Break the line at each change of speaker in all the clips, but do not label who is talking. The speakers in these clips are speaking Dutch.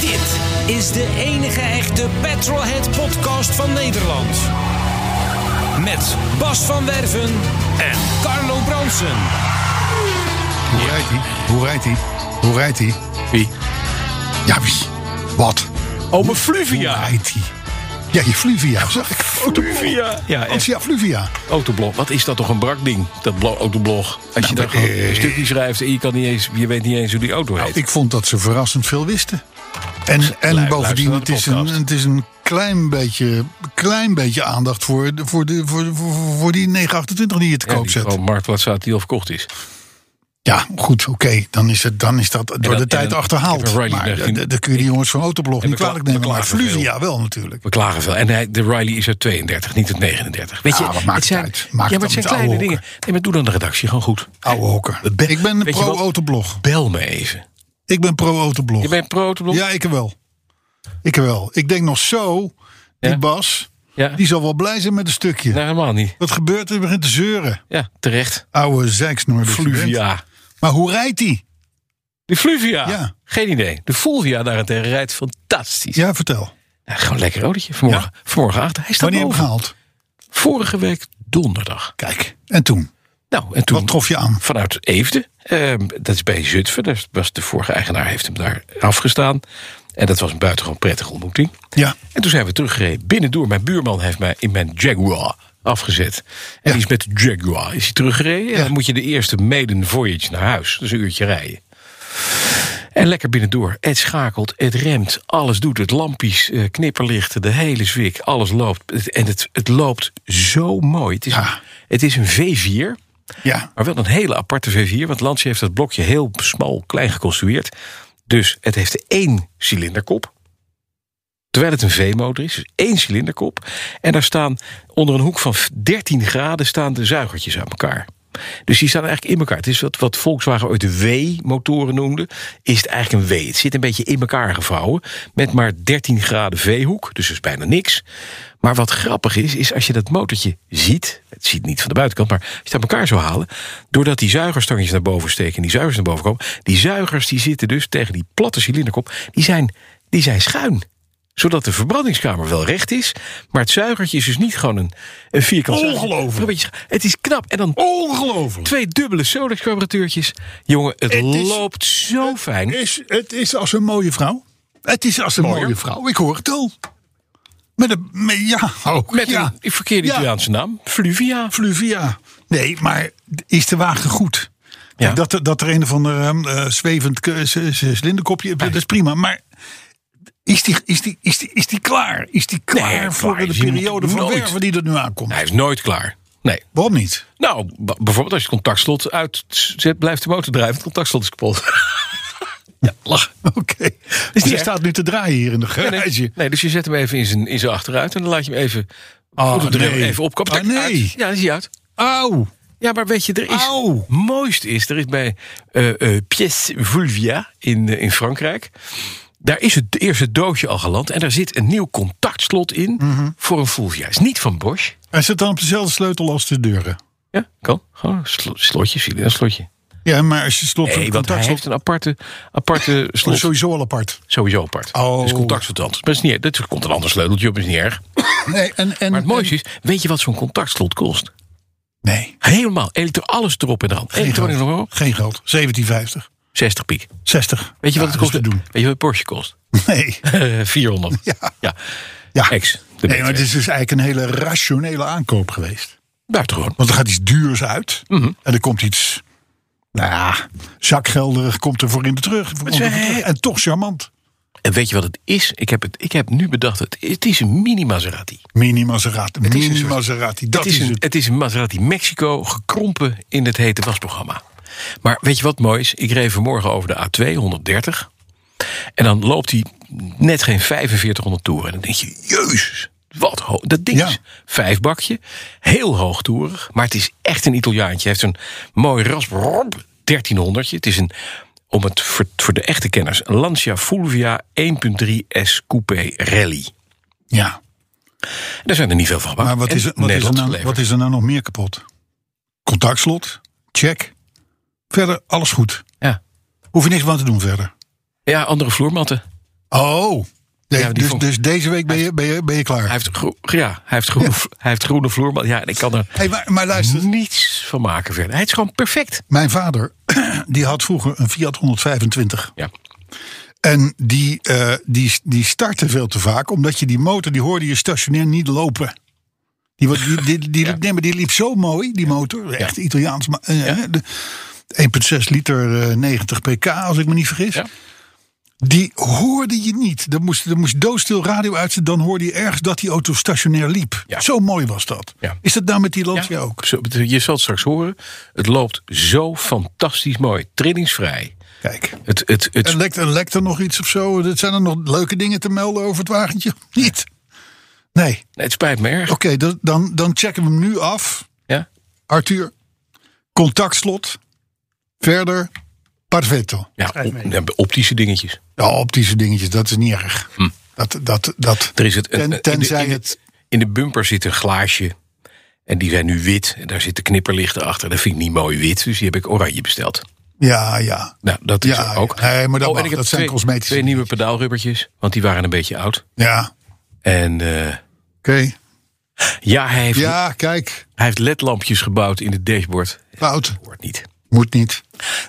Dit is de enige echte Petrolhead podcast van Nederland. Met Bas van Werven en Carlo Bronsen.
Hoe rijdt hij? Hoe rijdt hij? Hoe rijdt hij?
Wie?
Ja, wie? Wat?
Oh, mijn
Hoe
Fluvia.
rijdt hij? Ja, je Fluvia. Zag ik
Fluvia. Ja,
Oh,
echt.
ja, Fluvia.
Autoblog. Wat is dat toch een brakding, dat blo- autoblog. Als je daar
maar,
gewoon
eh,
een stukje schrijft en je, kan niet eens, je weet niet eens hoe die auto heet.
Nou, Ik vond dat ze verrassend veel wisten. En, en
luister
bovendien,
naar
het
de
is, een,
podcast.
het is een klein beetje, klein beetje aandacht voor, de, voor, de, voor, voor, voor die 928 die je te
Ja,
koop
die
zet.
gewoon marktplaats staat die al verkocht is.
Ja, goed, oké. Dan, is het- dan is dat door
dan-
de
en
tijd
dan- ik
achterhaald.
heb een Riley
Maar
weg.
d- d- dan kun je die jongens van Autoblog
En
niet
we kla-
kwalijk nemen.
we
Maar
klagen
Fluvia wel natuurlijk.
We klagen veel. En hij, de Riley is uit 32, niet uit 39. Weet
Ja,
je,
Nou, wat maakt het
het zijn,
uit? Maakt
ja,
dan
maar het zijn
met oude
kleine
hokken.
dingen. Nee, maar doe dan de redactie gewoon goed.
Oude hokker. Ik ben
Weet je wat?
pro-Autoblog.
Bel me even.
Ik ben pro-Autoblog.
Je bent pro-autoblog?
Ja, ik wel. Ik wel. Ik denk nog zo, die
Ja.
Bas,
Ja.
die zal wel blij zijn met een stukje.
Nee, helemaal niet.
Wat gebeurt er? Hij begint te zeuren.
Ja, terecht.
Oude zeiksnoer. dat je bent.
Fluvia.
Maar hoe rijdt hij?
De Fluvia.
Ja.
Geen idee. De Fulvia daarentegen rijdt fantastisch.
Ja, vertel.
Nou, gewoon lekker autootje. Vanmorgen, vanmorgen achter. Hij staat
Wanneer hem
boven.
gehaald?
Vorige week donderdag.
Kijk. En toen?
Nou, en toen
Wat trof je aan?
vanuit Eefde. ehm, dat is bij Zutphen. Dus was de vorige eigenaar heeft hem daar afgestaan. En dat was een buitengewoon prettige ontmoeting.
Ja.
En toen zijn we teruggereden. Binnendoor, mijn buurman heeft mij in mijn Jaguar afgezet. En die is met de Jaguar is hij teruggereden. En
Ja.
dan moet je de eerste maiden voyage naar huis. Dus een uurtje rijden. En lekker binnendoor. Het schakelt, het remt, alles doet het. Lampjes, eh, knipperlichten, de hele zwik, alles loopt. Het- En het, het loopt zo mooi. Het is,
Ja.
het is een V4,
Ja.
maar wel een hele aparte V4. Want Lancia heeft dat blokje heel smal, klein geconstrueerd. Dus het heeft één cilinderkop. Terwijl het een V-motor is, dus één cilinderkop. En daar staan onder een hoek van 13 graden staan de zuigertjes aan elkaar. Dus die staan eigenlijk in elkaar. Het is wat, wat Volkswagen ooit de W-motoren noemde, is het eigenlijk een W. Het zit een beetje in elkaar gevouwen, met maar 13 graden V-hoek, dus dat is bijna niks. Maar wat grappig is, is als je dat motortje ziet, het ziet niet van de buitenkant, maar als je het aan elkaar zou halen, doordat die zuigerstangjes naar boven steken en die zuigers naar boven komen, die zuigers die zitten dus tegen die platte cilinderkop, die zijn, die zijn schuin zodat de verbrandingskamer wel recht is. Maar het zuigertje is dus niet gewoon een, een vierkant zuigertje.
Ongelooflijk.
Een beetje scha- Het is knap. En dan
Ongelooflijk.
twee dubbele Solex carburateurtjes. Jongen, het,
Het is-
loopt zo fijn.
Is, het is als een mooie vrouw. Het is als een
Mooier.
mooie vrouw. Ik hoor het al. Met een... Met, ja, ook.
Met
ja.
een verkeerde
Ja.
Italiaanse naam. Fluvia.
Fluvia. Nee, maar is de wagen goed?
Ja.
Kijk, Dat, er- dat er een of ander ehm, eh, zwevend ke- z- z- slinderkopje, dat is prima. Maar is die, is die, is die, is die klaar? Is die klaar
klaar
voor de
is die
periode van
nooit.
werven die er nu aankomt?
Hij is nooit klaar. Nee.
Waarom niet?
Nou, b- bijvoorbeeld als je het contactslot uitzet, blijft de motor drijven. Het contactslot is kapot. ja, lach.
Oké. Dus die
erg.
staat nu te draaien hier in de
Nee, nee.
garage.
Nee, dus je zet hem even in zijn, in zijn achteruit. En dan laat je hem even,
Ah,
goed op de rail
nee.
even opkomen.
Ah,
Kijk,
nee.
uit. Ja, dan is hij uit.
Auw.
Ja, maar weet je, er is.
Auw.
Het mooiste is, er is bij eh eh Pièce Vulvia in, eh, in Frankrijk. Daar is het eerste doosje al geland. En daar zit een nieuw contactslot in
Mhm.
voor een Vulvia. Is niet van Bosch.
Hij zit dan op dezelfde sleutel als de deuren.
Ja, kan. Gewoon een slo- slotje, zie je, een slotje.
Ja, maar als je slot
Nee, want hij heeft een aparte, aparte slot.
is sowieso al apart.
Sowieso apart.
Oh.
Dus contactslot anders. Maar dat is niet, dat komt een ander sleuteltje op, is niet erg.
Nee, en, en,
Maar het mooiste is, weet je wat zo'n contactslot kost?
Nee,
Helemaal. Elektro, alles erop en eraan.
geen
Elektronisch nog wel.
geld. Geen geld. 17,50.
60 piek.
60.
Weet je
Ja,
wat het
dat
kost?
is te doen?
Weet je wat het Porsche kost?
Nee.
Eh, 400.
Ja.
ja.
Ja.
Ex. de
nee,
betere.
maar het is dus eigenlijk een hele rationele aankoop geweest.
Buitengewoon. Mhm.
Want er gaat iets duurs uit. En er komt iets Nou ja, zakgelderig komt er voor in de terug. voor ons
ze-
in de terug. En toch charmant.
En weet je wat het is? Ik heb, het, ik heb nu bedacht, het, het is een mini Maserati.
Mini Maserati.
is een
Mini
soort-
Maserati. Dat
het, is
is
een,
het.
het is een Maserati Mexico gekrompen in het hete wasprogramma. Maar weet je wat mooi is? Ik reed vanmorgen over de A2, 130. En dan loopt hij net geen 4500 toeren. En dan denk je, jezus, wat hoog. Dat ding
Ja.
is vijfbakje, heel hoogtoerig. Maar het is echt een Italiaantje. Hij heeft een mooi rasp, 1300. Het is een, om het voor, voor de echte kenners, een Lancia Fulvia 1.3 S Coupé Rally.
Ja.
En daar zijn er niet veel van gemaakt.
Maar wat
e- En
is, er- wat, is er
Nederlands
nou,
geleverd.
wat is er nou nog meer kapot? Contactslot. Check. Verder alles goed.
Ja.
Hoef je niks aan te doen verder.
ja, andere vloermatten.
Oh. De-
Ja, die
dus,
vond-
dus deze week ben je, ben je, ben je klaar.
Hij heeft, groe- ja, hij heeft, groene, hij heeft groene vloermat. Ja, en ik kan er
Hey, maar, maar luister.
niets van maken verder. Hij is gewoon perfect.
Mijn vader die had vroeger een Fiat 125.
Ja.
En die, eh, die, die startte veel te vaak. Omdat je die motor, die hoorde je stationair niet lopen. Die, wa- die, die, die,
Ja.
nee, maar die liep zo mooi, die motor. Echt Italiaans. maar, eh,
Ja.
de 1,6 liter, eh, 90 pk, als ik me niet vergis.
Ja.
Die hoorde je niet. Er moest, er moest doodstil radio uitzetten. Dan hoorde je ergens dat die auto stationair liep.
Ja.
Zo mooi was dat.
Ja.
Is dat nou met die Lancia ook?
Zo, Je zal het straks horen. Het loopt zo fantastisch mooi. Trillingsvrij.
Kijk.
Het, het, het,
En lekt, en lekt er nog iets of zo? Dat Zijn er nog leuke dingen te melden over het wagentje? Niet. Nee.
het spijt me erg.
Oké, dan- dan, dan checken we hem nu af.
Ja?
Arthur, contactslot. Verder, perfecto.
Ja, op- ja, optische dingetjes.
Ja, optische dingetjes, dat is niet erg.
Hm.
Dat, dat, dat.
Er is het,
Ten-
een- in de-
tenzij
in de,
het...
In de bumper zit een glaasje. En die zijn nu wit. En daar zitten knipperlichten achter. Dat vind ik niet mooi wit. Dus die heb ik oranje besteld.
Ja, ja.
Nou, dat is
Ja,
er ook. Oh,
ja. Nee, maar dat mag.
en ik heb
Dat zijn
twee-
cosmetische
Twee nieuwe pedaalrubbertjes. Want die waren een beetje oud.
Ja,
En eh,
oké.
ja, hij heeft,
Ja, kijk.
hij heeft ledlampjes gebouwd in het dashboard.
Fout.
Wordt niet.
Moet niet.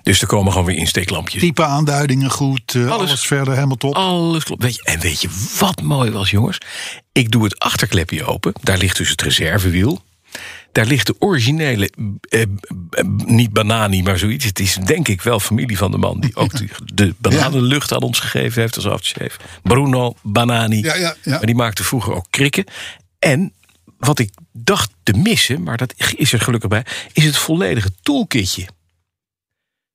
Dus er komen gewoon weer insteeklampjes.
Type aanduidingen goed. eh, alles.
Alles.
verder helemaal top.
Alles klopt. Weet je, en weet je wat mooi was, jongens? Ik doe het achterklepje open. Daar ligt dus het reservewiel. Daar ligt de originele, eh, eh, niet Banani, maar zoiets. Het is denk ik wel familie van de man die ook de, de bananenlucht aan ons gegeven heeft als afschreef. Bruno Banani.
Ja, ja, ja.
Maar die maakte vroeger ook krikken. En wat ik dacht te missen, maar dat is er gelukkig bij, is het volledige toolkitje.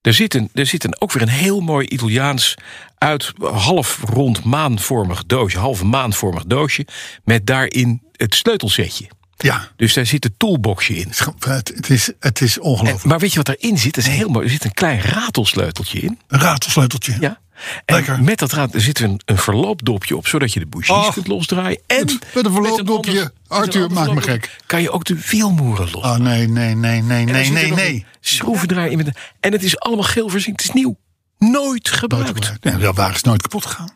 Er zit, een, er zit een, ook weer een heel mooi Italiaans uit half rond maanvormig doosje, half maanvormig doosje, met daarin het sleutelsetje.
Ja.
Dus daar zit het toolboxje in.
Het, het is, het is
En,
ongelooflijk.
maar weet je wat erin zit? Dat is heel mooi. Er zit een klein ratelsleuteltje in.
Een raadselsleuteltje.
Ja. En
Lekker.
met dat raad er zit een, een verloopdopje op, zodat je de bougies
Oh.
kunt losdraaien. En
Met- met een verloopdopje.
ander- met een
Arthur,
ander
maak me
verloopdopje Kan je ook de wielmoeren los?
Oh nee, nee, nee, nee, nee, nee, nee.
Schroevendraaier in. met een- En het is allemaal geel voorzien. Het is nieuw. Nooit gebruikt.
Nee, dat wagen is nooit kapot gegaan.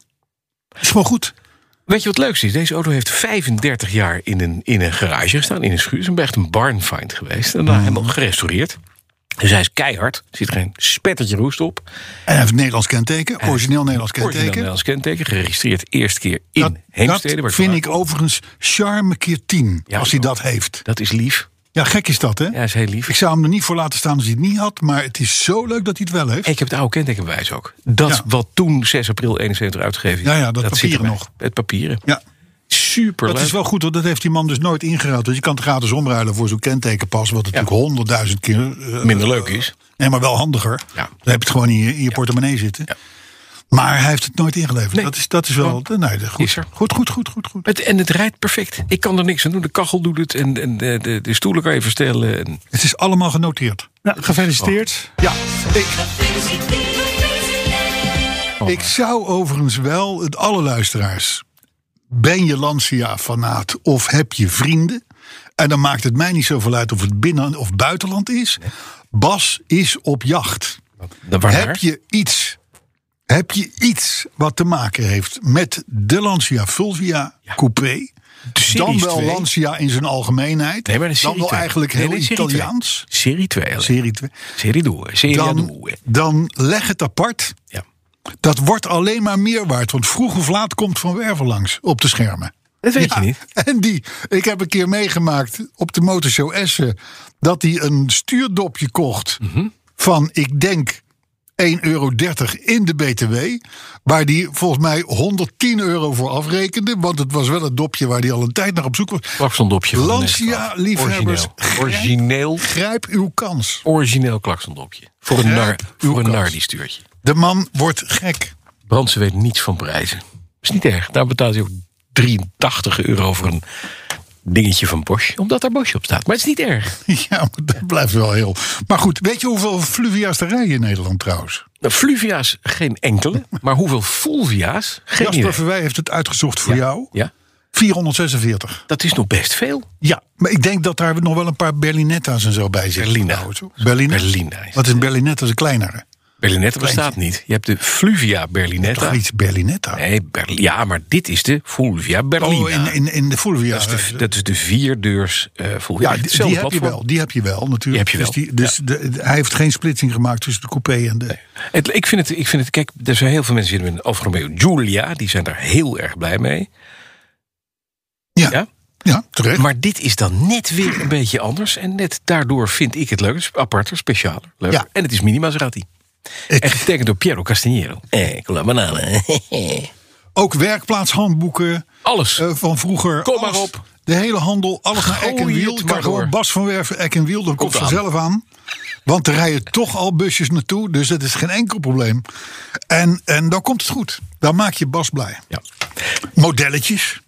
Is gewoon goed.
Weet je wat het leukste is? Deze auto heeft 35 jaar in een, in een garage gestaan, in een schuur. Het is een- echt een barnfind geweest. En daar
Mm.
helemaal gerestaureerd. Dus hij is keihard. Er zit geen spettertje roest op.
En hij heeft een Nederlands kenteken, origineel Nederlands
Origineel
kenteken.
Nederlands kenteken. Geregistreerd eerste keer in
Dat,
Heemstede. waar
dat vind
vandaan
ik overigens charme keer 10,
Ja,
als hij
zo.
dat heeft.
kom. Dat is lief.
Ja, gek is dat, hè?
Ja, is heel lief.
Ik zou hem er niet voor laten staan als hij het niet had, maar het is zo leuk dat hij het wel heeft.
Ik heb het oude kentekenbewijs ook. Dat
Ja.
wat toen 6 april 71 uitgegeven is.
Ja, ja, dat
zit
papieren
erbij.
nog.
Het papieren.
Ja,
Super
dat is wel goed, want dat heeft die man dus nooit ingeruild. Dus je kan het gratis omruilen voor zo'n kentekenpas, wat natuurlijk honderdduizend keer eh,
Minder leuk is.
Nee, maar wel handiger.
Ja.
Dan heb je het gewoon in je, in je portemonnee zitten.
Ja.
Maar hij heeft het nooit ingeleverd.
Nee.
Dat, is, dat is wel. Nee, dat- goed.
Is er.
goed, goed, goed, goed, goed.
Het, en het rijdt perfect. Ik kan er niks aan doen. De kachel doet het. En, en de, de, de stoelen kan je verstellen. En
Het is allemaal genoteerd.
Nou, gefeliciteerd.
Ja, ik,
Oh.
ik zou overigens wel het alle luisteraars. Ben je Lancia-fanaat of heb je vrienden? En dan maakt het mij niet zoveel uit of het binnen- of buitenland is. Bas is op jacht.
dat Nou, waar?
Heb je iets? Heb je iets wat te maken heeft met de Lancia Fulvia Coupé? Dan
Series
wel
2.
Lancia in zijn algemeenheid.
Nee, maar een
dan
serie
wel
2.
eigenlijk
Nee,
heel
nee, serie
Italiaans.
2. Serie 2. alleen.
Serie 2.
Serie 2. Serie
Dan,
2.
dan leg het apart.
Ja.
Dat wordt alleen maar meer waard. Want vroeg of laat komt Van Werven langs op de schermen.
Dat weet
Ja,
je niet.
En die, ik heb een keer
Mhm.
meegemaakt op de motorshow Essen... dat hij een stuurdopje kocht van, ik denk, 1,30 euro in de BTW. Waar die volgens mij 110 euro voor afrekende. Want het was wel het dopje waar die al een tijd naar op zoek was.
Klaksondopje. van de Nestlé.
Lancia-liefhebbers,
Origineel. Origineel.
Grijp uw kans.
Origineel klaksondopje. Voor een nar,
Grijp uw
voor een
kans.
nar die stuurt je.
De man wordt gek.
Brandsen weet niets van prijzen. Is niet erg. Daar betaalt hij ook 83 euro voor een dingetje van Bosch. Omdat daar Bosch op staat. Maar het is niet erg.
Ja, maar dat blijft wel heel. Maar goed, weet je hoeveel Fluvia's er rijden in Nederland trouwens?
Nou, Fluvia's geen enkele. Maar hoeveel Fulvia's? Geen
Jasper
idee.
Verwij heeft het uitgezocht voor jou.
Ja,
446.
dat is nog best veel.
Ja, maar ik denk dat daar nog wel een paar Berlinetta's en zo bij zitten.
Berlina.
trouwens. Berlina.
Berlina is
Wat is een Berlinetta? Is een kleinere.
Berlinetta bestaat niet. Je hebt de Fluvia Berlinetta.
Toch iets Berlinetta?
Nee, Berl- ja, maar dit is de Fulvia Berlina.
Oh, in, in, in de Fulvia.
Dat is de, dat is de vierdeurs eh Fulvia.
ja, die, die
Hetzelfde
heb je
platform.
wel. Die heb je wel, natuurlijk.
Die heb je wel,
Dus, die, dus de- de- hij heeft geen splitsing gemaakt tussen de coupé en de...
Het, ik, vind het, ik vind het, kijk, er zijn heel veel mensen die met Alfa Romeo Giulia, die zijn daar heel erg blij mee.
Ja, ja?
Ja?
terecht.
Maar dit is dan net weer een beetje anders. En net daardoor vind ik het leuker, aparter, specialer. Leuker.
Ja.
En het is Minimaserati. En
Ik,
getekend door Piero Castagnero. Eh, ik wil een banaan.
ook werkplaatshandboeken
Alles.
eh, van vroeger.
Kom maar
alles,
op.
De hele handel, alles naar
Gooi
Eck en Wiel.
het
Ik
maar
kan gewoon
door.
Bas van Werven, Eck en Wiel. Dan komt
Komt aan.
vanzelf aan. Want er rijden toch al busjes naartoe. Dus dat is geen enkel probleem. En, en dan komt het goed. Dan maak je Bas blij.
Ja.
Modelletjes.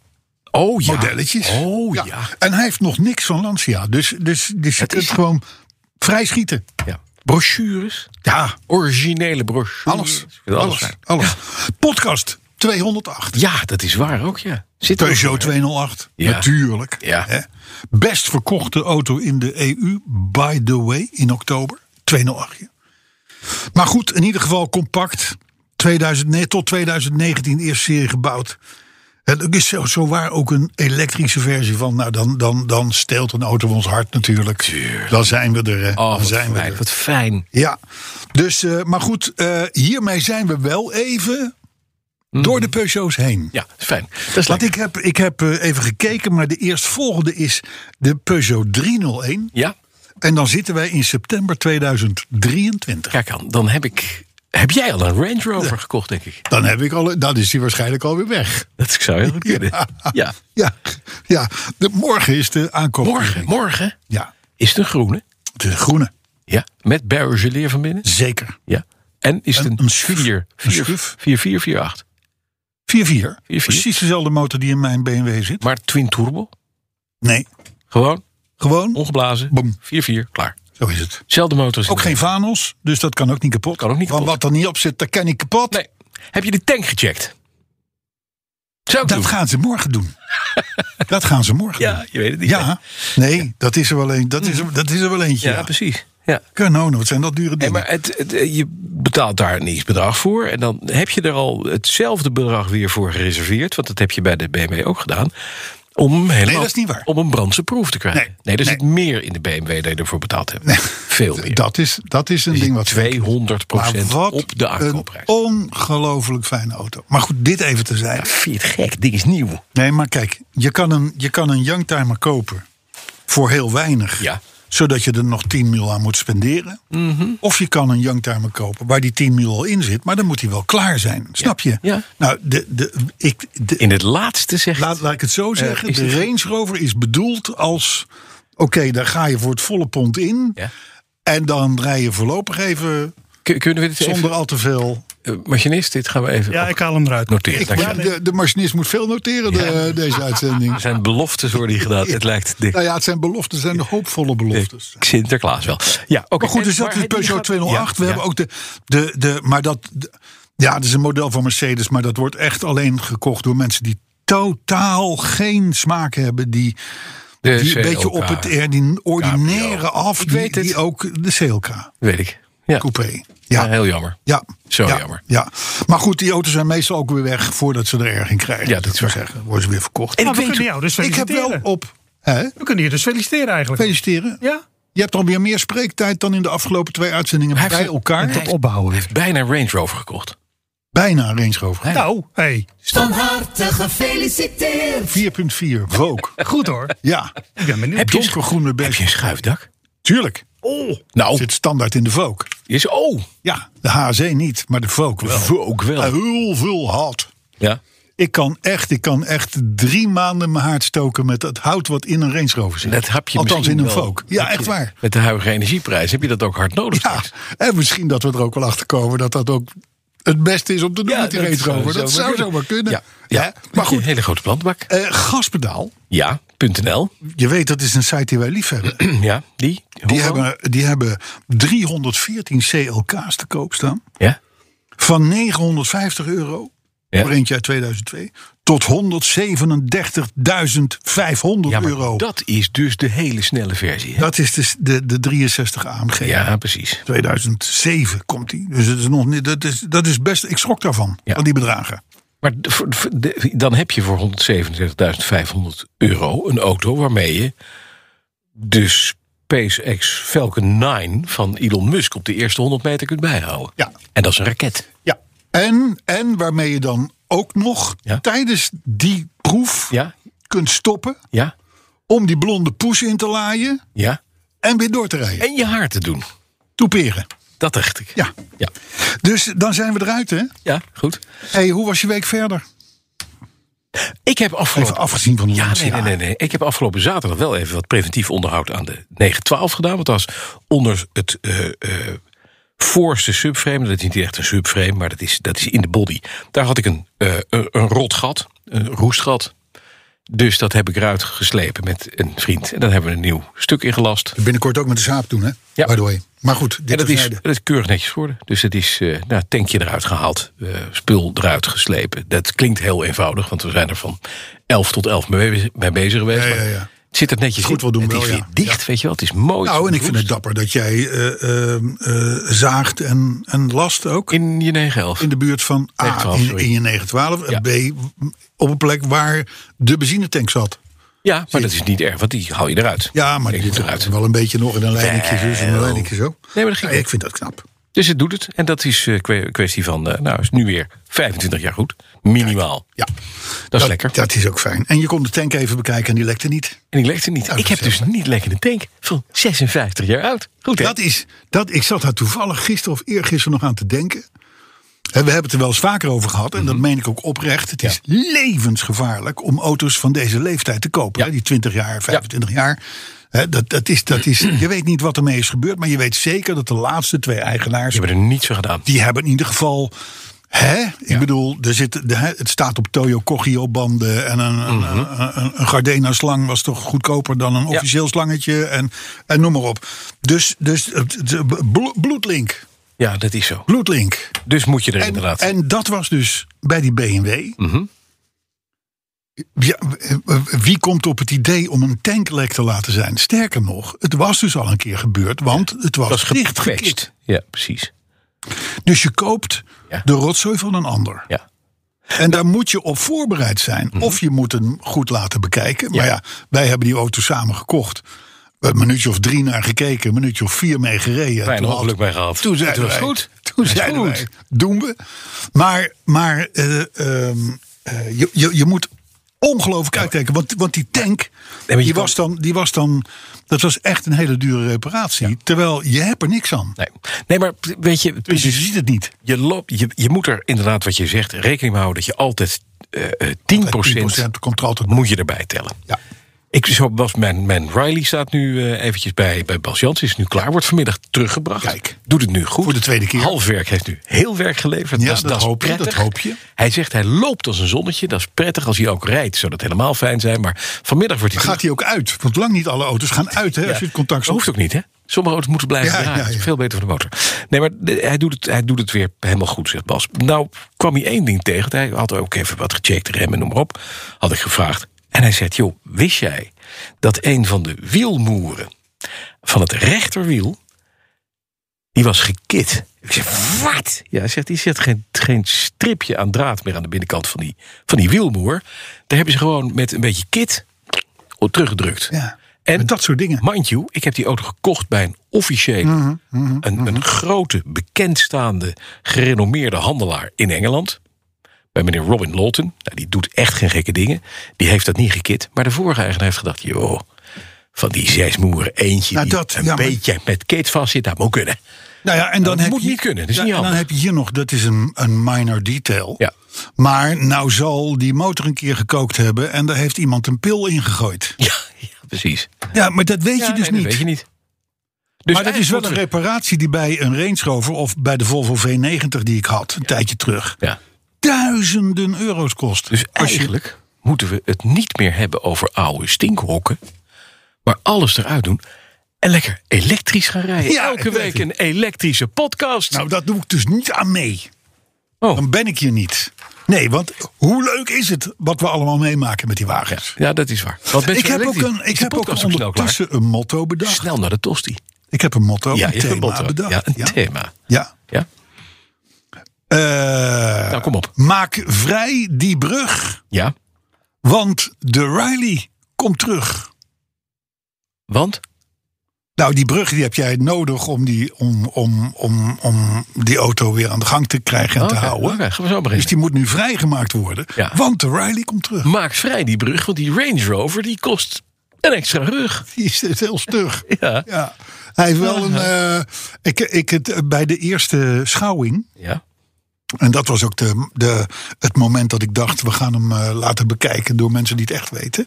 Oh ja.
modelletjes.
Oh ja. ja.
En hij heeft nog niks van Lancia. Dus, dus, dus je
Het
kunt
is-
gewoon vrij schieten.
Brochures.
Ja,
Originele brochures.
alles.
Ik wil
Alles.
zijn.
alles. Podcast 208.
Ja, dat is waar ook, ja. Zit er
Peugeot
ook in, hè?
208.
Ja.
Natuurlijk.
Ja.
Hè? Best verkochte auto in de EU, by the way, in oktober. 208. ja. Maar goed, in ieder geval compact. 2009, tot 2019 eerste serie gebouwd. Het is zo, zo waar ook een elektrische versie van. Nou, dan, dan, dan steelt een auto ons hart natuurlijk. Dan zijn we er. hè.
Oh,
dan
wat
zijn we
fijn.
er.
Wat fijn.
Ja, dus, eh, maar goed, eh, hiermee zijn we wel even
Mm.
door de Peugeots heen.
Ja, fijn. Dat is
Want
lekker.
ik heb, ik heb eh, even gekeken, maar de eerstvolgende is de Peugeot 301.
Ja,
En dan zitten wij in september 2023.
kijk aan. Dan heb ik... Heb jij al een Range Rover gekocht, denk ik?
Dan, heb ik al, dan is die waarschijnlijk alweer weg.
Dat zou heel goed kunnen. Ja.
Ja, ja. De, morgen is de aankoop.
Morgen, morgen
Ja,
is het een groene.
de groene.
Ja. Met Barry Geleer van binnen.
Zeker.
Ja. En is het
Een-
een,
een schuf.
4,
Een
4,
schuf.
4, 4, 4, 8.
4-4.
4-4.
Precies dezelfde motor die in mijn BMW zit.
Maar twin turbo.
Nee,
Gewoon,
gewoon.
ongeblazen.
Boom.
4, 4, klaar.
Zo is het.
Zelfde motor. als in
Ook geen vanos, dus dat kan ook niet kapot.
Kan ook niet
Want
kapot.
wat er niet op zit, dat kan niet kapot.
de- Nee. Heb je de tank gecheckt? Zou ik
Dat
doen.
gaan ze morgen doen. dat gaan ze morgen doen.
Ja, je weet het niet.
Ja, nee, dat is er wel, een, dat is er, dat is er wel eentje.
Ja,
Ja,
precies. Ja.
Kanonen, wat zijn dat dure
En
dingen.
maar het, het- eh, je betaalt daar een bedrag voor. En dan heb je er al hetzelfde bedrag weer voor gereserveerd. Want dat heb je bij de BMW ook gedaan. Om hem helemaal,
dat is niet waar.
Om een brandse proef te krijgen.
Nee,
Nee, er
nee.
zit meer in de BMW dan je ervoor betaald hebt. Veel meer.
dat, is, dat is een
Er zit
ding wat...
200
maar wat
op de
een
aankoopprijs.
ongelooflijk fijne auto. Maar goed, dit even te zijn.
Vind je het gek? Ding is nieuw.
Nee, maar kijk, je kan een, je kan een youngtimer kopen voor heel weinig.
Ja. Mhm.
Zodat je er nog 10 mil aan moet spenderen. Of je kan een youngtimer kopen waar die 10 mil al in zit. Maar dan moet hij wel klaar zijn. Snap je?
Ja.
Nou, de, de, ik, de,
In het laatste zegt...
laat, laat ik het zo zeggen.
Eh, is
de
dit-
Range Rover is bedoeld als... Oké, daar ga je voor het volle pond in.
Ja.
En dan rij je voorlopig even
Kun- Kunnen we dit
zonder
even...
al te veel.
eh, machinist, dit gaan we even
Ja,
op-
ik haal hem eruit.
noteren.
Ik,
Dank je.
de, de machinist moet veel noteren, de- deze uitzending.
Er zijn beloftes worden hier gedaan. Het lijkt dik.
Nou ja, het zijn beloftes, het zijn hoopvolle beloftes.
Sinterklaas wel. Ja, oké.
Maar goed,
En-
dus dat
maar
is
het- die
Peugeot
gaat-
208.
Ja,
we
ja.
hebben ook de, de, de maar dat, de- ja, dat is een model van Mercedes, maar dat wordt echt alleen gekocht door mensen die totaal geen smaak hebben, die,
De
die een beetje
CLK,
op het eh, die ordinaire af,
Ik
die,
weet het.
die ook de CLK
Weet ik. Ja.
coupé.
ja.
Ja,
heel jammer.
ja.
Zo
ja,
jammer.
Ja. Maar goed, die auto's zijn meestal ook weer weg voordat ze er erg in krijgen.
Ja, dat
zou
is
ik
waar.
zeggen. Worden ze weer verkocht.
Nou, we kunnen jou dus
ik heb wel
feliciteren.
op. Hè?
We kunnen je dus feliciteren eigenlijk.
Feliciteren.
ja?
Je hebt alweer meer spreektijd dan in de afgelopen twee uitzendingen
Hij heeft
bij
een-
elkaar.
hij heeft-
opbouwen
Hij heeft bijna een Range Rover gekocht.
Bijna een Range Rover.
Nou, hey.
4.4, Vogue.
Goed hoor.
Ja,
Ik ben benieuwd.
Heb je, een-
donkergroene
heb je
beestje.
een schuifdak?
Tuurlijk.
Nou,
Zit standaard in de Vogue.
is oh,
Ja, de HC niet, maar de Vogue wel. Eh,
ook wel.
Heel veel hout.
Ja.
Ik kan echt, ik kan echt drie maanden mijn haard stoken met het hout wat in een Range Rover zit.
Dat heb je
Althans
misschien
in een
wel-
Vogue. Ja,
heb je-
echt waar.
Met de huidige energieprijs heb je dat ook hard nodig.
Ja,
straks.
en misschien dat we er ook wel achter komen dat dat ook het beste is om te doen
Ja,
met die Range Rover. Dat zou zomaar kunnen.
Ja, ja.
Hè? Maar goed,
Hele grote plantenbak.
eh, gaspedaal.
Ja, Mm. .nl.
Je weet, dat is een site die wij lief hebben.
Ja, die.
Die
Hoeveel?
hebben, die hebben 314 CLK's te koop staan.
Ja.
Van 950 euro,
Ja.
voor eentje uit 2002, tot 137.500
ja, maar
euro.
dat is dus de hele snelle versie. hè?
Dat is de, de, de 63 AMG.
Ja, precies.
2007 komt die. Dus het is nog niet, dat, is, dat is best. Ik schrok daarvan,
Ja.
van die bedragen.
Maar d- voor- voor- de- dan heb je voor 137.500 euro een auto waarmee je de SpaceX Falcon 9 van Elon Musk op de eerste 100 meter kunt bijhouden.
Ja.
En dat is een raket.
Ja. En, en waarmee je dan ook nog
Ja.
tijdens die proef
Ja,
kunt stoppen
ja,
om die blonde poes in te laaien
ja.
en weer door te rijden.
En je haar te doen.
Toeperen.
Dat dacht ik.
Ja.
Ja,
Dus dan zijn we eruit, hè?
ja goed.
Hey, hoe was je week verder?
Ik heb
Even
afgelopen...
afgezien van de
Ja,
Lancia.
nee, nee, nee, nee. Ik heb afgelopen zaterdag wel even wat preventief onderhoud aan de 912 gedaan. Want dat was onder het eh, eh, voorste subframe. Dat is niet echt een subframe, maar dat is, dat is in de body. Daar had ik een, eh, een, een rot gat, een roestgat. Dus dat heb ik eruit geslepen met een vriend. En dan hebben we een nieuw stuk ingelast.
Binnenkort ook met de saap doen, hè?
Ja.
By the way. Maar goed,
En
dit
dat is,
terzijde.
dat is keurig netjes geworden. Dus het is eh nou, tankje eruit gehaald, eh, spul eruit geslepen. Dat klinkt heel eenvoudig, want we zijn er van 11 tot 11 mee bezig- mee bezig geweest.
Ja, ja,
maar
ja.
Het zit er netjes
Goed
in.
wel doen
het
wel,
is
ja.
weer dicht, weet je wel. Het is mooi.
Nou, en ik
is
vind het dapper dat jij eh, eh, eh, zaagt en, en last ook. In,
In je 911.
de buurt van A,
912,
in,
sorry.
in je 912. En B, op een plek waar de benzinetank zat.
ja, maar dat is niet erg, want die haal je eruit.
Ja, maar
Ik
die
moet
doet
eruit.
wel een beetje nog in een leidingje zo en een leidingje zo.
Nee, maar dat ging
Ja, ik vind dat knap.
Dus het doet het. En dat is een kwestie van, eh, nou, is nu weer 25 jaar goed. Minimaal.
Ja,
dat, is lekker.
Dat is ook fijn. En je kon de tank even bekijken en die lekte niet.
en die lekte niet.
dat
ik heb
is
dus een niet lekkende tank van 56 jaar oud. Goed, hè?
Dat is, dat, ik zat daar toevallig gisteren of eergisteren nog aan te denken. Hè, We hebben het er wel eens vaker over gehad. En
Mhm.
dat meen ik ook oprecht. Het is levensgevaarlijk om auto's van deze leeftijd te kopen.
Ja.
hè, Die 20 jaar, 25 jaar. Hè, Dat, dat is, dat is, je weet niet wat ermee is gebeurd. Maar je weet zeker dat de laatste twee eigenaars...
Die hebben er niets van gedaan.
die hebben in ieder geval. Hè? Ik bedoel, er zit, de, hè, het staat op Toyo Cogio banden. En een, een- een, een, een Gardena slang was toch goedkoper dan een officieel slangetje. En, en noem maar op. Dus, dus het- het- blo- bloedlink.
Ja, dat is zo.
Bloedlink.
Dus moet je er
En,
inderdaad.
en dat was dus bij die BMW. Ja, wie komt op het idee om een tanklek te laten zijn? Sterker nog, het was dus al een keer gebeurd, want het was,
dat is
dicht
gepatcht. Ja, precies.
Dus je koopt
Ja.
de rotzooi van een ander.
Ja.
En daar moet je op voorbereid zijn.
Mhm.
Of je moet hem goed laten bekijken. Maar ja, wij hebben die auto samen gekocht. We hebben een minuutje of drie naar gekeken. Een minuutje of vier mee gereden.
Klein
Toen had-
ongeluk mee gehad.
Toen zeiden
Het was
wij,
goed.
Toen
Het is
zeiden
goed.
wij, doen we. Maar, maar eh, ehm, eh, je, je, je moet ongelooflijk uitkijken. Want, want die tank,
maar je
die,
kan-
was dan, die was dan... Dat was echt een hele dure reparatie. Terwijl je hebt er niks aan.
Nee. nee, maar weet je,
Dus je ziet het niet.
je, loopt, je, je moet er inderdaad, wat je zegt, rekening mee houden dat je altijd eh, eh, 10%,
10% komt er altijd
moet je erbij tellen.
Ja.
Ik, zo was mijn, mijn Riley staat nu eh, eventjes bij, bij Bas Jans. Is nu klaar, wordt vanmiddag teruggebracht.
Kijk.
Doet het nu goed.
Voor de tweede keer.
Half werk heeft nu heel werk geleverd.
Ja,
dat, is-
dat
is
hoop je, dat
prettig.
hoop je.
Hij zegt hij loopt als een zonnetje. Dat is prettig. Als hij ook rijdt zou dat helemaal fijn zijn. Maar vanmiddag wordt hij
gaat hij ook uit. Want lang niet alle auto's gaan uit hè, als je het contact
dat hoeft ook niet, hè? Sommige auto's moeten blijven
Ja,
draaien.
ja,
Dat is
ja.
Veel beter voor de motor. Nee, maar de- hij doet, het, hij doet het weer helemaal goed, zegt Bas. Nou kwam hij één ding tegen. Hij had ook even wat gecheckt, remmen, noem maar op. Had ik gevraagd. En hij zegt, joh, wist jij dat een van de wielmoeren van het rechterwiel... die was gekit. Ik zeg, wat? Ja, hij zegt, die zet geen, geen stripje aan draad meer aan de binnenkant van die, van die wielmoer. Daar hebben ze gewoon met een beetje kit op teruggedrukt.
Ja.
En-
Met dat soort dingen. Mhm,
Mind you, ik heb die auto gekocht bij een officiële, een, een grote, bekendstaande, gerenommeerde handelaar in Engeland. Bij meneer Robin Lawton. Nou, die doet echt geen gekke dingen. Die heeft dat niet gekit. Maar de vorige eigenaar heeft gedacht, joh, van die zes moeren eentje
Nou,
die
dat-
een
ja, maar-
beetje met kit vast zit. Dat moet kunnen.
Nou ja, en dan
dat
heb
moet
je,
niet kunnen, dat is
Ja,
niet
en dan
handig.
heb je hier nog, dat is een, een minor detail.
Ja.
Maar nou zal die motor een keer gekookt hebben en daar heeft iemand een pil in gegooid.
Ja, ja precies.
Ja, maar dat weet
Ja,
je
nee,
dus
dat
niet.
weet je niet. Dus
maar dat is wel een
eigenlijk
reparatie die bij een Range Rover of bij de Volvo V90 die ik had een tijdje terug
moeten we- Ja.
duizenden euro's kost.
Dus
Als je-
eigenlijk moeten we het niet meer hebben over oude stinkhokken. Maar alles eruit doen. En lekker elektrisch gaan rijden.
Ja,
Elke
ik weet
week
het.
een elektrische podcast.
nou, dat doe ik dus niet aan mee.
Oh.
Dan ben ik hier niet. Nee, want hoe leuk is het wat we allemaal meemaken met die wagens?
ja, dat is waar. Want met
Ik
zo'n
heb ook,
elektrisch
een, ik
is de
heb ook
podcast snel klaar.
ondertussen een motto bedacht.
Snel naar de tosti.
Ik heb een motto,
Ja,
een
je hebt
thema
een motto.
bedacht.
Ja, een thema.
Ja.
Ja?
Eh,
Nou, kom op.
Maak vrij die brug,
Ja,
want de Riley komt terug.
want?
Nou, die brug die heb jij nodig om die, om, om, om, om die auto weer aan de gang te krijgen en
Oké,
te houden.
oké, oh, gaan we zo
Dus
beginnen.
die moet nu vrijgemaakt worden,
Ja.
want de Riley komt terug.
Maak vrij die brug, want die Range Rover die kost een extra rug.
Die is is heel stug.
Ja.
Ja. Hij heeft wel een. eh, ik, ik, het, bij de eerste schouwing
Ja.
En dat was ook de, de, het moment dat ik dacht, we gaan hem eh, laten bekijken door mensen die het echt weten.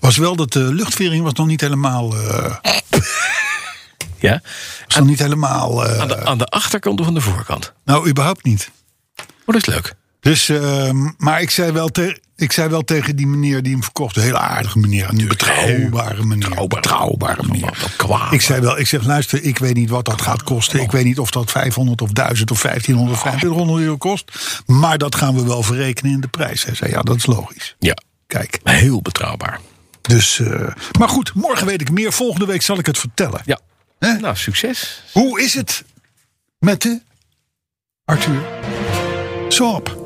Was wel dat de luchtvering was nog niet helemaal, eh,
ja.
was nog niet helemaal, eh,
Aan, de, aan de achterkant of aan de voorkant?
nou überhaupt niet.
Oh, dat is leuk.
Dus, ehm, maar ik zei, wel te, ik zei wel tegen die meneer die hem verkocht, een hele aardige meneer, een betrouwbare meneer. Betrouwbare meneer.
Kwaad.
Ik zei wel, ik zeg luister, ik weet niet wat dat gaat kosten. Ik weet niet of dat 500 of 1000 of 1500 of 2500 euro kost. Maar dat gaan we wel verrekenen in de prijs. Hij zei, ja dat is logisch.
Ja,
Kijk.
heel betrouwbaar.
Dus, eh, maar goed, morgen weet ik meer. Volgende week zal ik het vertellen.
Ja.
Hè?
Nou, succes.
Hoe is het met de Arthur Soap?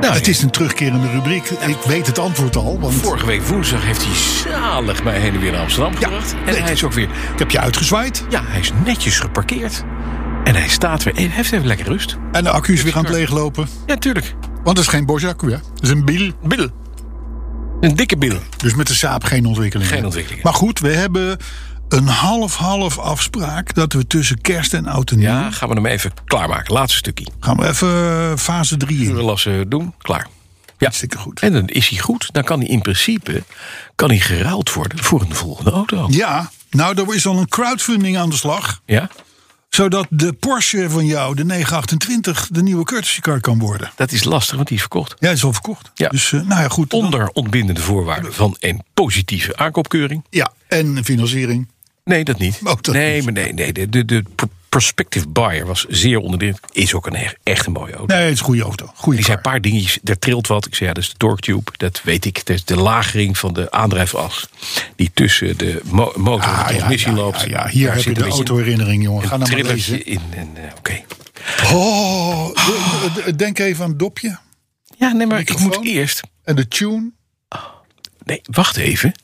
Nou, het is een terugkerende rubriek. Ik weet het antwoord al. Want
Vorige week woensdag heeft hij zalig mij heen en weer naar Amsterdam gebracht. En
weet
hij is ook weer...
ik heb je uitgezwaaid.
Ja, hij is netjes geparkeerd. En hij staat weer... Hij heeft even lekker rust.
En de accu is weer aan het leeglopen.
Ja, tuurlijk.
Want het is geen Bosch-accu, hè? Het is een biel.
Bill. Een dikke bill.
Dus met de Saab geen ontwikkelingen.
Geen ontwikkelingen.
Maar goed, we hebben een half-half afspraak... dat we tussen kerst en oud en nieuw...
Ja, gaan we hem even klaarmaken. Laatste stukje.
gaan we even fase 3 in.
Urenlassen doen. Klaar. Ja.
Hartstikke goed.
En dan is hij goed. Dan kan hij in principe kan hij geruild worden voor een volgende auto.
Ja, nou, er is al een crowdfunding aan de slag.
Ja?
Zodat de Porsche van jou, de 928, de nieuwe courtesy car kan worden.
Dat is lastig, want die is verkocht.
Ja, is al verkocht.
Ja.
Dus, eh, nou ja, goed. dan-
Onder ontbindende voorwaarden van een positieve aankoopkeuring.
Ja, en financiering.
Nee, dat niet.
Oh, dat
nee,
niet.
maar nee, nee. De, de, de pr- prospective buyer was zeer onder de indruk. Is ook een, e- echt een mooie auto.
Nee, het is een goede auto. Goede
Die
car.
zijn een paar dingetjes, er trilt wat. Ik zei, ja, dat is de torque tube. Dat weet ik. Dat is de lagering van de aandrijfas. Die tussen de mo- motor en
Ah,
de
ja,
transmissie
ja, ja,
loopt.
ja, Hier
Daar
heb je
zit
de
een beetje een-
autoherinnering, jongen. Ga
Een
nou maar
trilletje
lezen.
in. en, eh, Oké.
Oh, de- de- de- denk even aan het dopje.
Ja, nee, maar ik moet
Microfoon?
eerst...
En de tune.
Nee, wacht even.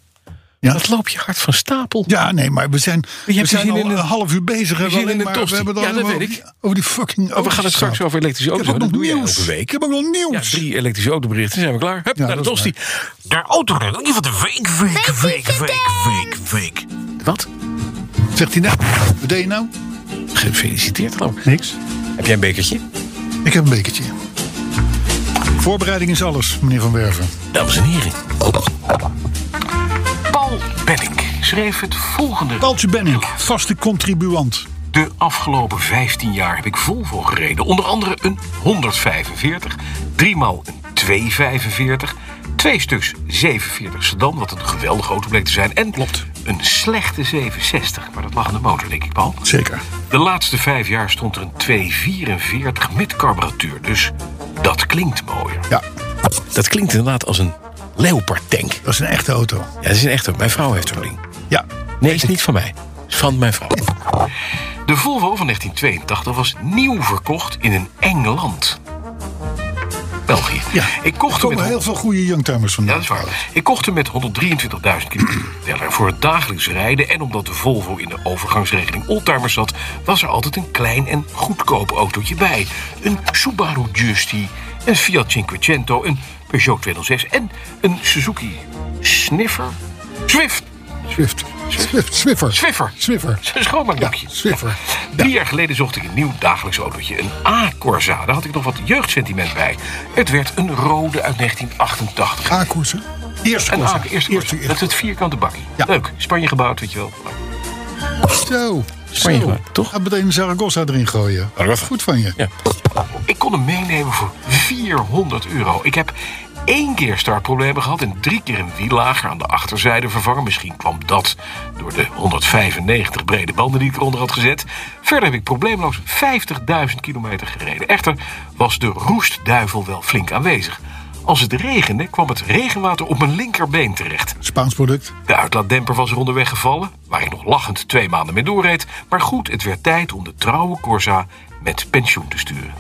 Ja.
Dat loop je hard van stapel.
Ja, nee, maar we zijn, we zijn
we zien
al
dus in
een
de-
half uur bezig. en
we zien in de
maar,
tosti.
we hebben het
Ja,
alleen
dat
maar
weet
over die- Over die fucking
Oh, we gaan het straks
auto's
over elektrische
gehad.
auto's
Ik heb ook nog
hebben. Dat doe jij
nieuws.
elke week.
Ik heb ook nog
Ja,
nieuws.
drie elektrische autoberichten. Zijn we klaar? Hup,
Ja,
naar de
dat is
tosti. De autoherinnering van de week, week, week, week, week, week. Wat?
Zegt hij nou, wat deed je nou?
Gefeliciteerd, geloof ik.
Niks.
Heb jij een bekertje?
Ik heb een bekertje. Voorbereiding is alles, meneer Van Werven.
Dames en heren. Paul Benning schreef het volgende.
Paltje Benning, vaste contribuant.
De afgelopen 15 jaar heb ik Volvo gereden. Onder andere een 145, driemaal een 245, twee stuks 47 sedan, wat een geweldige auto bleek te zijn. En
Klopt.
een slechte 760, maar dat lag aan de motor, denk ik, Paul.
Zeker.
De laatste vijf jaar stond er een 244 met carburateur, dus dat klinkt mooier.
Ja,
Dat klinkt inderdaad als een leopardtank.
dat is een echte auto.
Ja, dat is een echte, mijn vrouw heeft zo'n ding.
Ja.
Nee, is niet van mij. Is van mijn vrouw. De Volvo van 1982 was nieuw verkocht in een eng land. België.
ja.
Ik kocht
er
hem
komen
met...
heel veel goede youngtimers
Ja,
vandaan.
dat is waar. Ik kocht hem met 123.000 kilometer teller. Voor het dagelijks rijden en omdat de Volvo in de overgangsregeling oldtimers zat... was er altijd een klein en goedkoop autootje bij. Een Subaru Justy, een Fiat Cinquecento, een Peugeot 206... en een Suzuki Sniffer, Zwift,
Swift. Swift. Swiffer.
Swiffer.
Swiffer.
Een schoonmaakblokje.
Ja, Swiffer.
Drie jaar geleden zocht ik een nieuw dagelijks autootje. Een A-Corsa. Daar had ik nog wat jeugdsentiment bij. Het werd een rode uit 1988.
A-koersen. Eerste
Een
koers.
A, Ah, eerste Corsa. Dat is het vierkante bakje.
Ja.
Leuk. Spanje gebouwd, weet je wel.
Zo.
Spanje
Zo.
gemaakt, toch?
Ga meteen Zaragoza erin gooien.
Zaragoza.
Goed van je.
Ja.
Ik kon hem meenemen voor 400 euro. Ik heb één keer startproblemen gehad en drie keer een wiellager aan de achterzijde vervangen. Misschien kwam dat door de 195 brede banden die ik eronder had gezet. Verder heb ik probleemloos 50.000 kilometer gereden. Echter was de roestduivel wel flink aanwezig. Als het regende kwam het regenwater op mijn linkerbeen terecht.
Spaans product.
De uitlaatdemper was er onderweg gevallen, waar ik nog lachend twee maanden mee doorreed. Maar goed, het werd tijd om de trouwe Corsa met pensioen te sturen.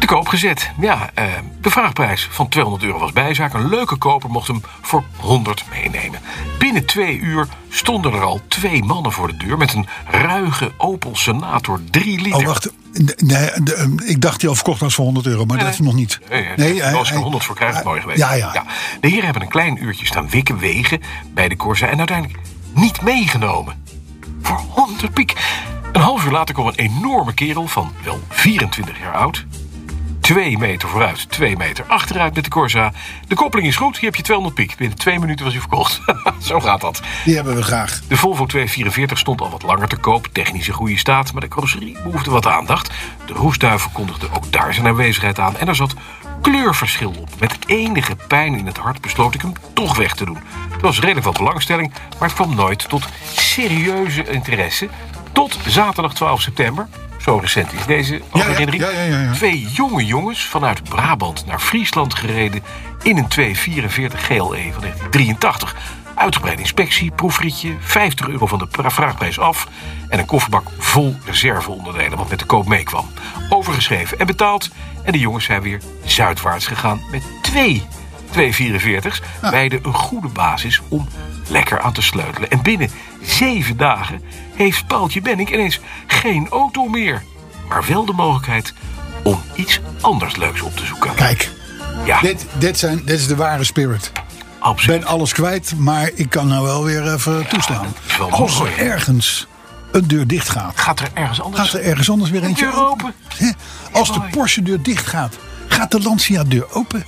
Te koop gezet. Ja, eh, de vraagprijs van 200 euro was bijzaak. Een leuke koper mocht hem voor 100 meenemen. Binnen twee uur stonden er al twee mannen voor de deur... met een ruige Opel Senator 3 liter.
Oh, wacht. Nee, de, ehm, ik dacht die al verkocht was voor 100 euro, maar dat is nog niet.
Nee, nee
hij-
als ik er
hij-
100 voor krijg,
hij-
mooi geweest.
eh, Ja, ja.
De heren hebben een klein uurtje staan wikken, wegen bij de Corsa... en uiteindelijk niet meegenomen. Voor 100 piek. Een half uur later kwam een enorme kerel van wel 24 jaar oud... Twee meter vooruit, twee meter achteruit met de Corsa. De koppeling is goed, hier heb je 200 piek. Binnen twee minuten was hij verkocht. Zo gaat dat.
Die hebben we graag.
De Volvo 244 stond al wat langer te koop, technisch in goede staat, maar de carrosserie behoefde wat aandacht. De roestduivel kondigde ook daar zijn aanwezigheid aan en er zat kleurverschil op. Met enige pijn in het hart besloot ik hem toch weg te doen. Er was redelijk wat belangstelling, maar het kwam nooit tot serieuze interesse. Tot zaterdag 12 september, zo recent is deze
Ja, ja,
herinnering,
ja, ja, ja, ja.
twee jonge jongens vanuit Brabant naar Friesland gereden in een 244 GLE E van 1983. Uitgebreide inspectie, proefritje, 50 euro van de pra- vraagprijs af en een kofferbak vol reserveonderdelen wat met de koop meekwam. Overgeschreven en betaald en de jongens zijn weer zuidwaarts gegaan met twee 244's. Beide een goede basis om lekker aan te sleutelen. En binnen zeven dagen heeft Paaltje Benning ineens geen auto meer. Maar wel de mogelijkheid om iets anders leuks op te zoeken.
Kijk,
Ja,
dit, dit, zijn, dit is de ware spirit. Ik
absoluut.
ben alles kwijt, maar ik kan nou wel weer even toeslaan.
dat is wel
Als
mooi,
er
hè?
ergens een deur dicht gaat,
Gaat er ergens anders?
gaat er ergens anders weer eentje
deur open.
Hè? Als de
Mooi.
Porsche deur dicht gaat, gaat de Lancia deur open.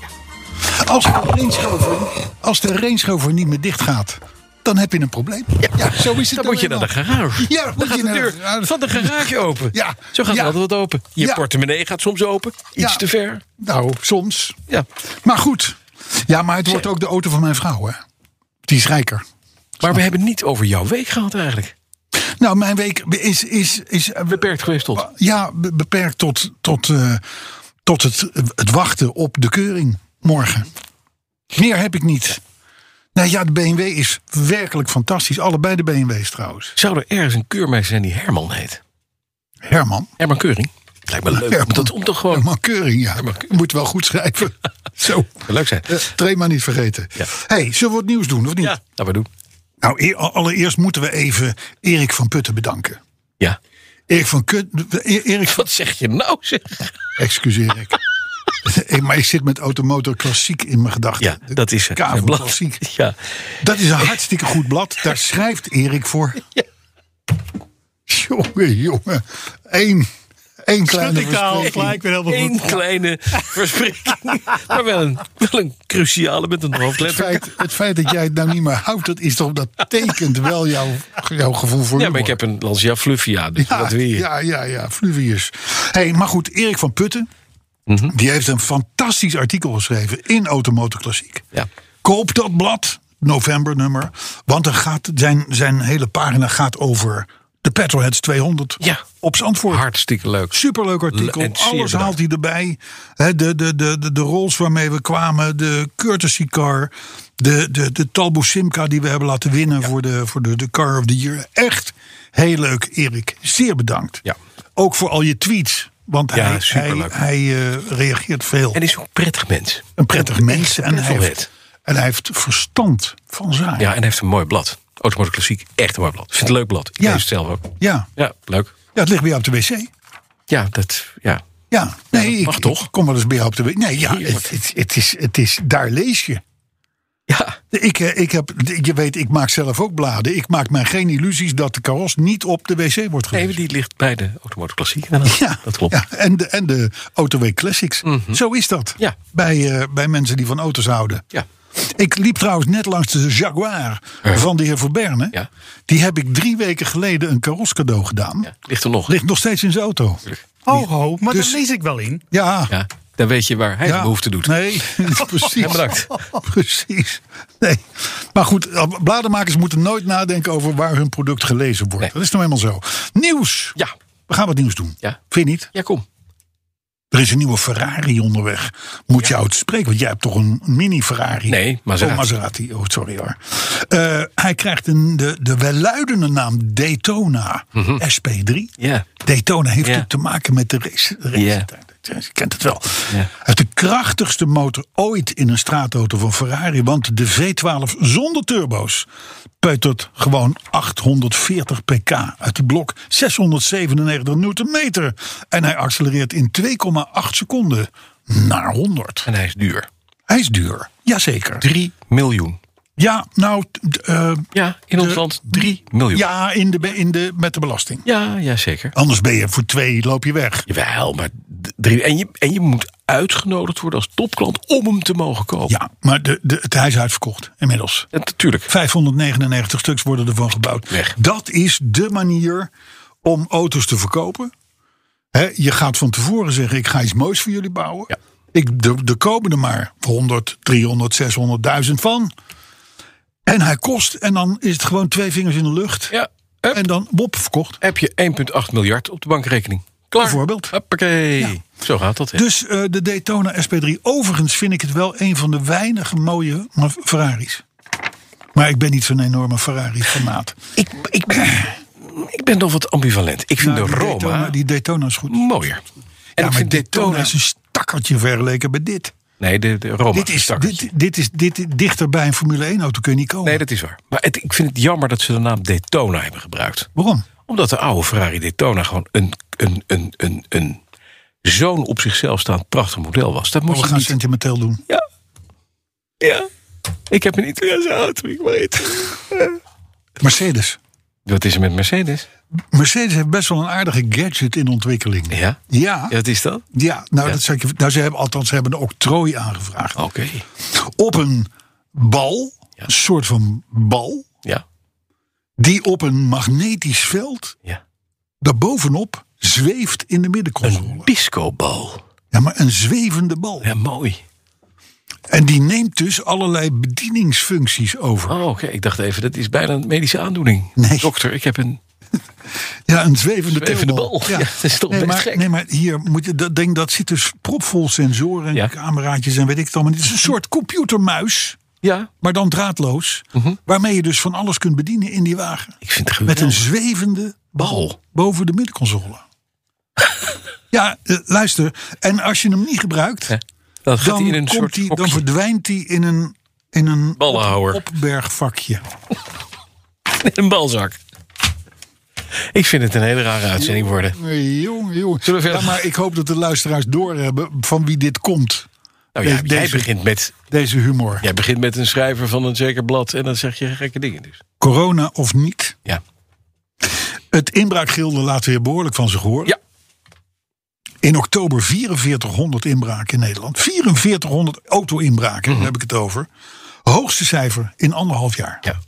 Als de Range Rover, als de Range Rover niet meer dicht gaat, dan heb je een probleem. Ja, zo is het
Dan moet je naar
eenmaal.
de garage.
Ja, moet
dan gaat
je
de
naar
deur
de garage.
van de garage open.
Ja.
Zo gaat
Ja.
het altijd open. Je
Ja.
portemonnee gaat soms open. Iets
Ja.
te ver.
Nou, soms.
Ja.
Maar goed. Ja, maar het wordt ook de auto van mijn vrouw, hè. Die is rijker.
Maar we hebben het niet over jouw week gehad eigenlijk.
Nou, mijn week is... is, is eh,
Beperkt geweest tot.
ja, be- beperkt tot, tot, eh, tot het, het wachten op de keuring morgen. Meer heb ik niet. Nou ja, de BMW is werkelijk fantastisch. Allebei de BMW's trouwens.
Zou er ergens een keurmeester zijn die Herman heet?
Herman.
Herman Keuring. Lijkt me leuk.
Herman.
om Dat om toch gewoon
Herman Keuring, ja.
Oh. Herman Keuring.
Moet wel goed schrijven. Zo.
leuk zijn.
Eh, Train maar niet vergeten.
Ja.
hey, zullen we wat nieuws doen, of niet?
Ja, dat we doen.
Nou, eer- allereerst moeten we even Erik van Putten bedanken.
Ja.
Erik van Kut, E- Erik van,
Wat zeg je nou? Zeg?
excuseer ik. Eh, maar ik zit met Automotor Klassiek in mijn
Ja,
gedachten.
dat is het.
Kavo
Een blad.
Klassiek.
Ja.
Dat is een hartstikke goed blad. Daar schrijft Erik voor.
Ja.
Jongen, jongen. Eén, één kleine
ik daar al
verspreking.
gelijk weer helemaal
Eén
goed.
kleine verspreking. Maar wel een, wel een cruciale met een
Het
hoofdletter.
feit, het feit dat jij het nou niet meer houdt, dat, is toch, dat tekent wel jouw, jouw gevoel voor
Ja, maar ik
humor.
heb een Lancia Fluffia. Dus wat wil je?
Ja, ja, ja, Fluvius. Hey, maar goed, Erik van Putten,
Mhm.
die heeft een fantastisch artikel geschreven in Automotor Klassiek.
Ja.
Koop dat blad, novembernummer, want er gaat, zijn, zijn hele pagina gaat over de Petrolheads 200
Ja.
op Zandvoort.
Hartstikke leuk.
Superleuk artikel.
Le- en zeer
Alles
bedankt.
haalt hij erbij. Hè, de, de, de, de, de rolls waarmee we kwamen. De courtesy car. De, de, de Talbo Simca die we hebben laten winnen voor, de, voor de, de Car of the Year. Echt heel leuk, Erik. Zeer bedankt.
Ja.
Ook voor al je tweets. Want
Ja,
hij, hij,
superleuk.
hij eh, reageert veel.
En is ook een prettig mens.
een prettig mens. En hij, heeft,
Petrolhead.
en hij heeft verstand van zaken.
Ja, en hij heeft een mooi blad. Automotor Klassiek, echt een mooi blad. Ik vind het een leuk blad. Ik
Ja.
lees het zelf ook.
Ja.
Ja, leuk.
Ja, het ligt bij jou op de wc.
Ja, dat, ja.
Ja, nee,
mag
ik,
toch?
ik kom wel eens bij jou op de wc. Nee, ja,
Heerlijk.
het, het, het is, het is, daar lees je.
Ja,
Ik, eh, ik heb, je weet, ik maak zelf ook bladen. Ik maak mij geen illusies dat de karos niet op de wc wordt gelezen.
Nee, die ligt bij de Automotor Klassiek. inderdaad.
Ja,
dat klopt.
Ja, en de, en de Autoweek Classics. Zo is dat.
Mhm. Ja.
Bij, eh, bij mensen die van auto's houden.
Ja.
Ik liep trouwens net langs de Jaguar van de heer Verberne.
Ja.
Die heb ik drie weken geleden een karos cadeau gedaan.
Ja, ligt er nog.
Ligt nog steeds in zijn auto.
Oh, ho, maar
Dus-
daar lees ik wel in.
Ja.
Ja, dan weet je waar hij de
Ja.
behoefte doet.
Nee, precies.
Ja, bedankt.
Precies. Nee. Maar goed, blademakers moeten nooit nadenken over waar hun product gelezen wordt.
Nee.
Dat is nou helemaal zo. Nieuws.
Ja,
We gaan wat nieuws doen.
Ja.
Vind je niet?
ja, kom.
Er is een nieuwe Ferrari onderweg. Moet je jou het spreken? Want jij hebt toch een mini Ferrari?
Nee, Maserati.
Oh, Maserati. Oh, sorry hoor. Eh, hij krijgt een, de, de welluidende naam Daytona
Mhm.
SP3.
Ja.
Daytona heeft
Ja.
natuurlijk te maken met de race. de race.
Ja.
Je kent het wel.
Ja.
Hij heeft de krachtigste motor ooit in een straatauto van Ferrari. Want de V12 zonder turbo's peutert gewoon 840 pk uit de blok 697 newtonmeter. En hij accelereert in 2,8 seconden naar 100.
En hij is duur.
Hij is duur. Jazeker.
3 miljoen.
Ja, nou... t- eh,
Ja, in ons
de-
land 3 miljoen.
ja, in de, be- in de, met de belasting.
ja, ja, zeker.
Anders ben je voor twee, loop je weg.
Jawel, maar d- drie. En je, en je moet uitgenodigd worden als topklant om hem te mogen kopen.
Ja, maar de, de, het huis is uitverkocht inmiddels.
En natuurlijk.
599 stuks worden ervan gebouwd.
Weg.
Dat is de manier om auto's te verkopen. Hè, je gaat van tevoren zeggen: ik ga iets moois voor jullie bouwen.
Ja.
Ik, de, de komen er maar 100, 300, 600.000 van. En hij kost, en dan is het gewoon twee vingers in de lucht.
Ja, hup.
En dan wop verkocht.
heb je 1,8 miljard op de bankrekening. Klaar.
Bijvoorbeeld.
Hoppakee. Zo gaat dat. hè.
Dus eh, de Daytona SP3. Overigens vind ik het wel een van de weinige mooie Ma- Ferraris. Maar ik ben niet zo'n enorme Ferrari-fanaat.
ik, ik, ben, ik ben nog wat ambivalent. Ik vind
Nou,
de
die
Roma
Daytona- die Daytona is goed.
mooier. En
ja,
ik
maar
vind Daytona... Oh,
is een stakkertje vergeleken bij dit.
Nee, de, de Roma.
Dit is, dit, dit is dit, dichter bij een Formule 1-auto kun je niet komen.
Nee, dat is waar. Maar het, ik vind het jammer dat ze de naam Daytona hebben gebruikt.
Waarom?
Omdat de oude Ferrari Daytona gewoon een, een, een, een, een zo'n op zichzelf staand prachtig model was. Dat
Oh, we
moest je
gaan
niet...
sentimenteel doen.
Ja. Ja. Ik heb een Italiaanse auto, ik weet.
Mercedes.
Wat is er met Mercedes?
Mercedes heeft best wel een aardige gadget in ontwikkeling.
Ja?
Ja,
Ja,
ja,
Wat is dat?
nou, Dat zou ik je, nou ze hebben, althans, ze hebben een octrooi aangevraagd.
Oké.
Op een bal, een soort van bal,
Ja.
die op een magnetisch veld
Ja.
daarbovenop zweeft in de middenconsole.
Piscobal.
Ja, maar een zwevende bal.
Ja, mooi.
En die neemt dus allerlei bedieningsfuncties over.
Oh, oké. Ik dacht even, dat is bijna een medische aandoening.
Nee.
Dokter, ik heb een...
Ja, een zwevende,
Zwevende
teelbal.
bal. Ja, dat is toch
nee,
best
maar,
gek.
Nee, maar hier moet je dat ding, dat zit dus propvol sensoren en
Ja. Mhm.
cameraatjes en weet ik het allemaal. niet. Het is een soort computermuis,
Ja.
maar dan draadloos,
Mhm.
waarmee je dus van alles kunt bedienen in die wagen.
Ik vind het
Met
geweldig.
een zwevende bal
Bal.
boven de middenconsole. ja, eh, luister. En als je hem niet gebruikt,
Ja. Dan gaat
dan,
hij in een
komt
soort
hij- dan
hokje.
verdwijnt hij in een, in een
Ballenhouwer.
opbergvakje.
een balzak. Ik vind het een hele rare uitzending worden.
Nee, jong, jong.
Zullen we verder
Ja, maar ik hoop dat de luisteraars doorhebben van wie dit komt.
Nou ja,
Deze-
jij
deze-
begint, met,
Deze humor.
jij begint met een schrijver van een zeker blad en dan zeg je gekke dingen dus.
Corona of niet.
Ja.
Het inbraakgilde laat weer behoorlijk van zich horen.
Ja.
In oktober 4400 inbraken in Nederland. 4400 auto-inbraken,
Mhm.
daar heb ik het over. Hoogste cijfer in anderhalf jaar.
ja.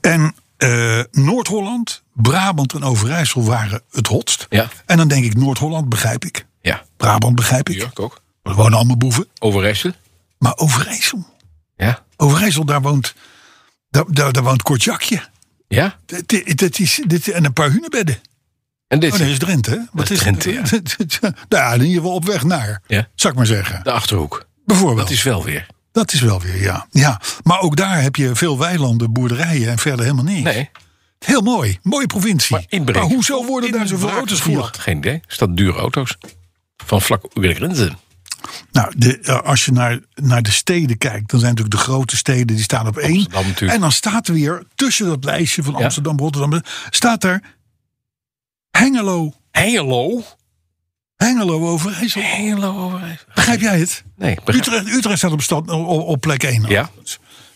En eh, Noord-Holland, Brabant en Overijssel waren het hotst.
Ja.
En dan denk ik, Noord-Holland begrijp ik.
Ja.
Brabant begrijp ik.
Ja, ik ook.
Er wonen allemaal boeven.
Overresten.
Maar Overijssel,
Ja.
Overijssel daar woont, daar, daar, daar woont Kortjakje.
Ja.
Dat, dat- dat is, dit, en een paar hunebedden.
En dit.
Oh, dat is Drenthe. hè?
Dat is Drenthe, ja.
het? nou ja, in ieder geval op weg naar,
Ja.
zou ik maar zeggen.
De Achterhoek.
Bijvoorbeeld.
Dat is wel weer.
wel weer, ja. ja. Maar ook daar heb je veel weilanden, boerderijen en verder helemaal niks.
Nee.
Heel mooi. Mooie provincie.
Maar inbreken.
Maar hoezo worden daar zoveel
Inbraak
auto's
gevoerd.
gevoerd?
Geen idee. Er staan dure auto's. Van vlak over de grenzen.
Nou, de, eh, als je naar, naar de steden kijkt, dan zijn natuurlijk de grote steden die staan op één.
Amsterdam natuurlijk.
En dan staat er weer tussen dat lijstje van
Ja.
Amsterdam, Rotterdam, staat daar Hengelo,
Hengelo.
Hengelo Overijssel.
Hengelo Overijssel.
Begrijp jij het?
Nee. begrijp-
Utrecht, Utrecht staat op, stand, op, op plek 1.
Ja.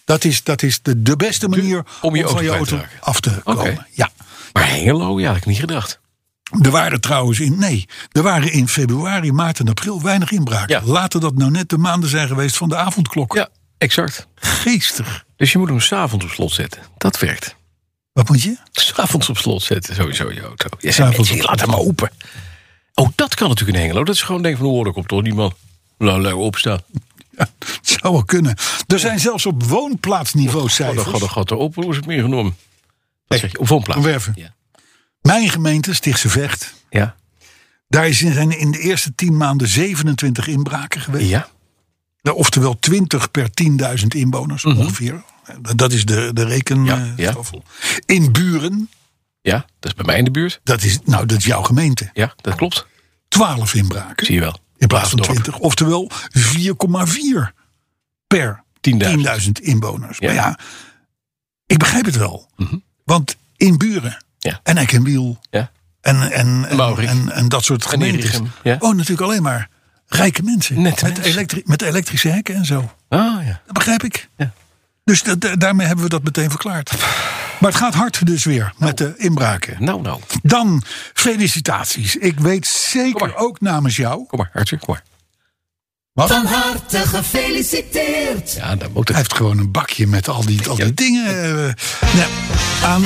Dat is, dat is de, de beste manier
om je auto
van je
kwijt te
auto
raken.
af te
Oké.
komen. Ja.
Maar Hengelo, ja, had ik niet gedacht.
Er waren trouwens in, nee, er waren in februari, maart en april weinig inbraken.
Ja.
Laten dat nou net de maanden zijn geweest van de avondklok.
Ja, exact.
Geestig.
Dus je moet hem s'avonds op slot zetten. Dat werkt.
Wat moet je?
S'avonds op slot zetten, sowieso je auto. Je zegt,
S'avonds
mensen,
op
die laat hem maar open. Oh, dat kan natuurlijk in Hengelo. Dat is gewoon denk van, hoor, er komt toch
Oh.
niemand. Nou, leuk opstaan.
Ja, het zou wel kunnen. Er zijn zelfs op woonplaatsniveau
Oh, dan
cijfers.
gaat er gaat erop. Hoe is het meer genomen? Wat zeg je? Op woonplaats.
Werven.
Ja.
Mijn gemeente, Stichtse Vecht,
Ja.
daar is- zijn in de eerste 10 maanden 27 inbraken geweest.
ja.
Nou, Oftewel 20 per 10.000 inwoners ongeveer. Dat is de, de
Mhm. Ja, ja.
rekenstoffel. In Buren,
Ja, dat is bij mij in de buurt.
dat is, nou, dat is jouw gemeente,
Ja, dat klopt.
12 inbraken.
Zie je wel.
In plaats van
Dorp.
20. Oftewel 4,4 per
10.000.
10.000 inwoners.
Ja. Mhm.
Maar ja, ik begrijp het wel. Want in Buren
Ja.
en Eck en Wiel
Ja.
en, en, en,
Maurik.
en, en dat soort gemeentes
Erichem, ja.
wonen natuurlijk alleen maar rijke mensen.
Nette
met,
mensen.
elektri- met elektrische hekken en zo.
Ah, ja.
Dat begrijp ik.
Ja.
Dus da- da- daarmee hebben we dat meteen verklaard. Maar het gaat hard dus weer met de inbraken.
Nou, nou.
Dan felicitaties. Ik weet
Kom
zeker
maar.
ook namens jou.
Kom maar, Arthur, kom maar.
Van harte gefeliciteerd.
Ja, dat moet
Hij
het.
heeft gewoon een bakje met al die, al die dingen. eh, nou, aan,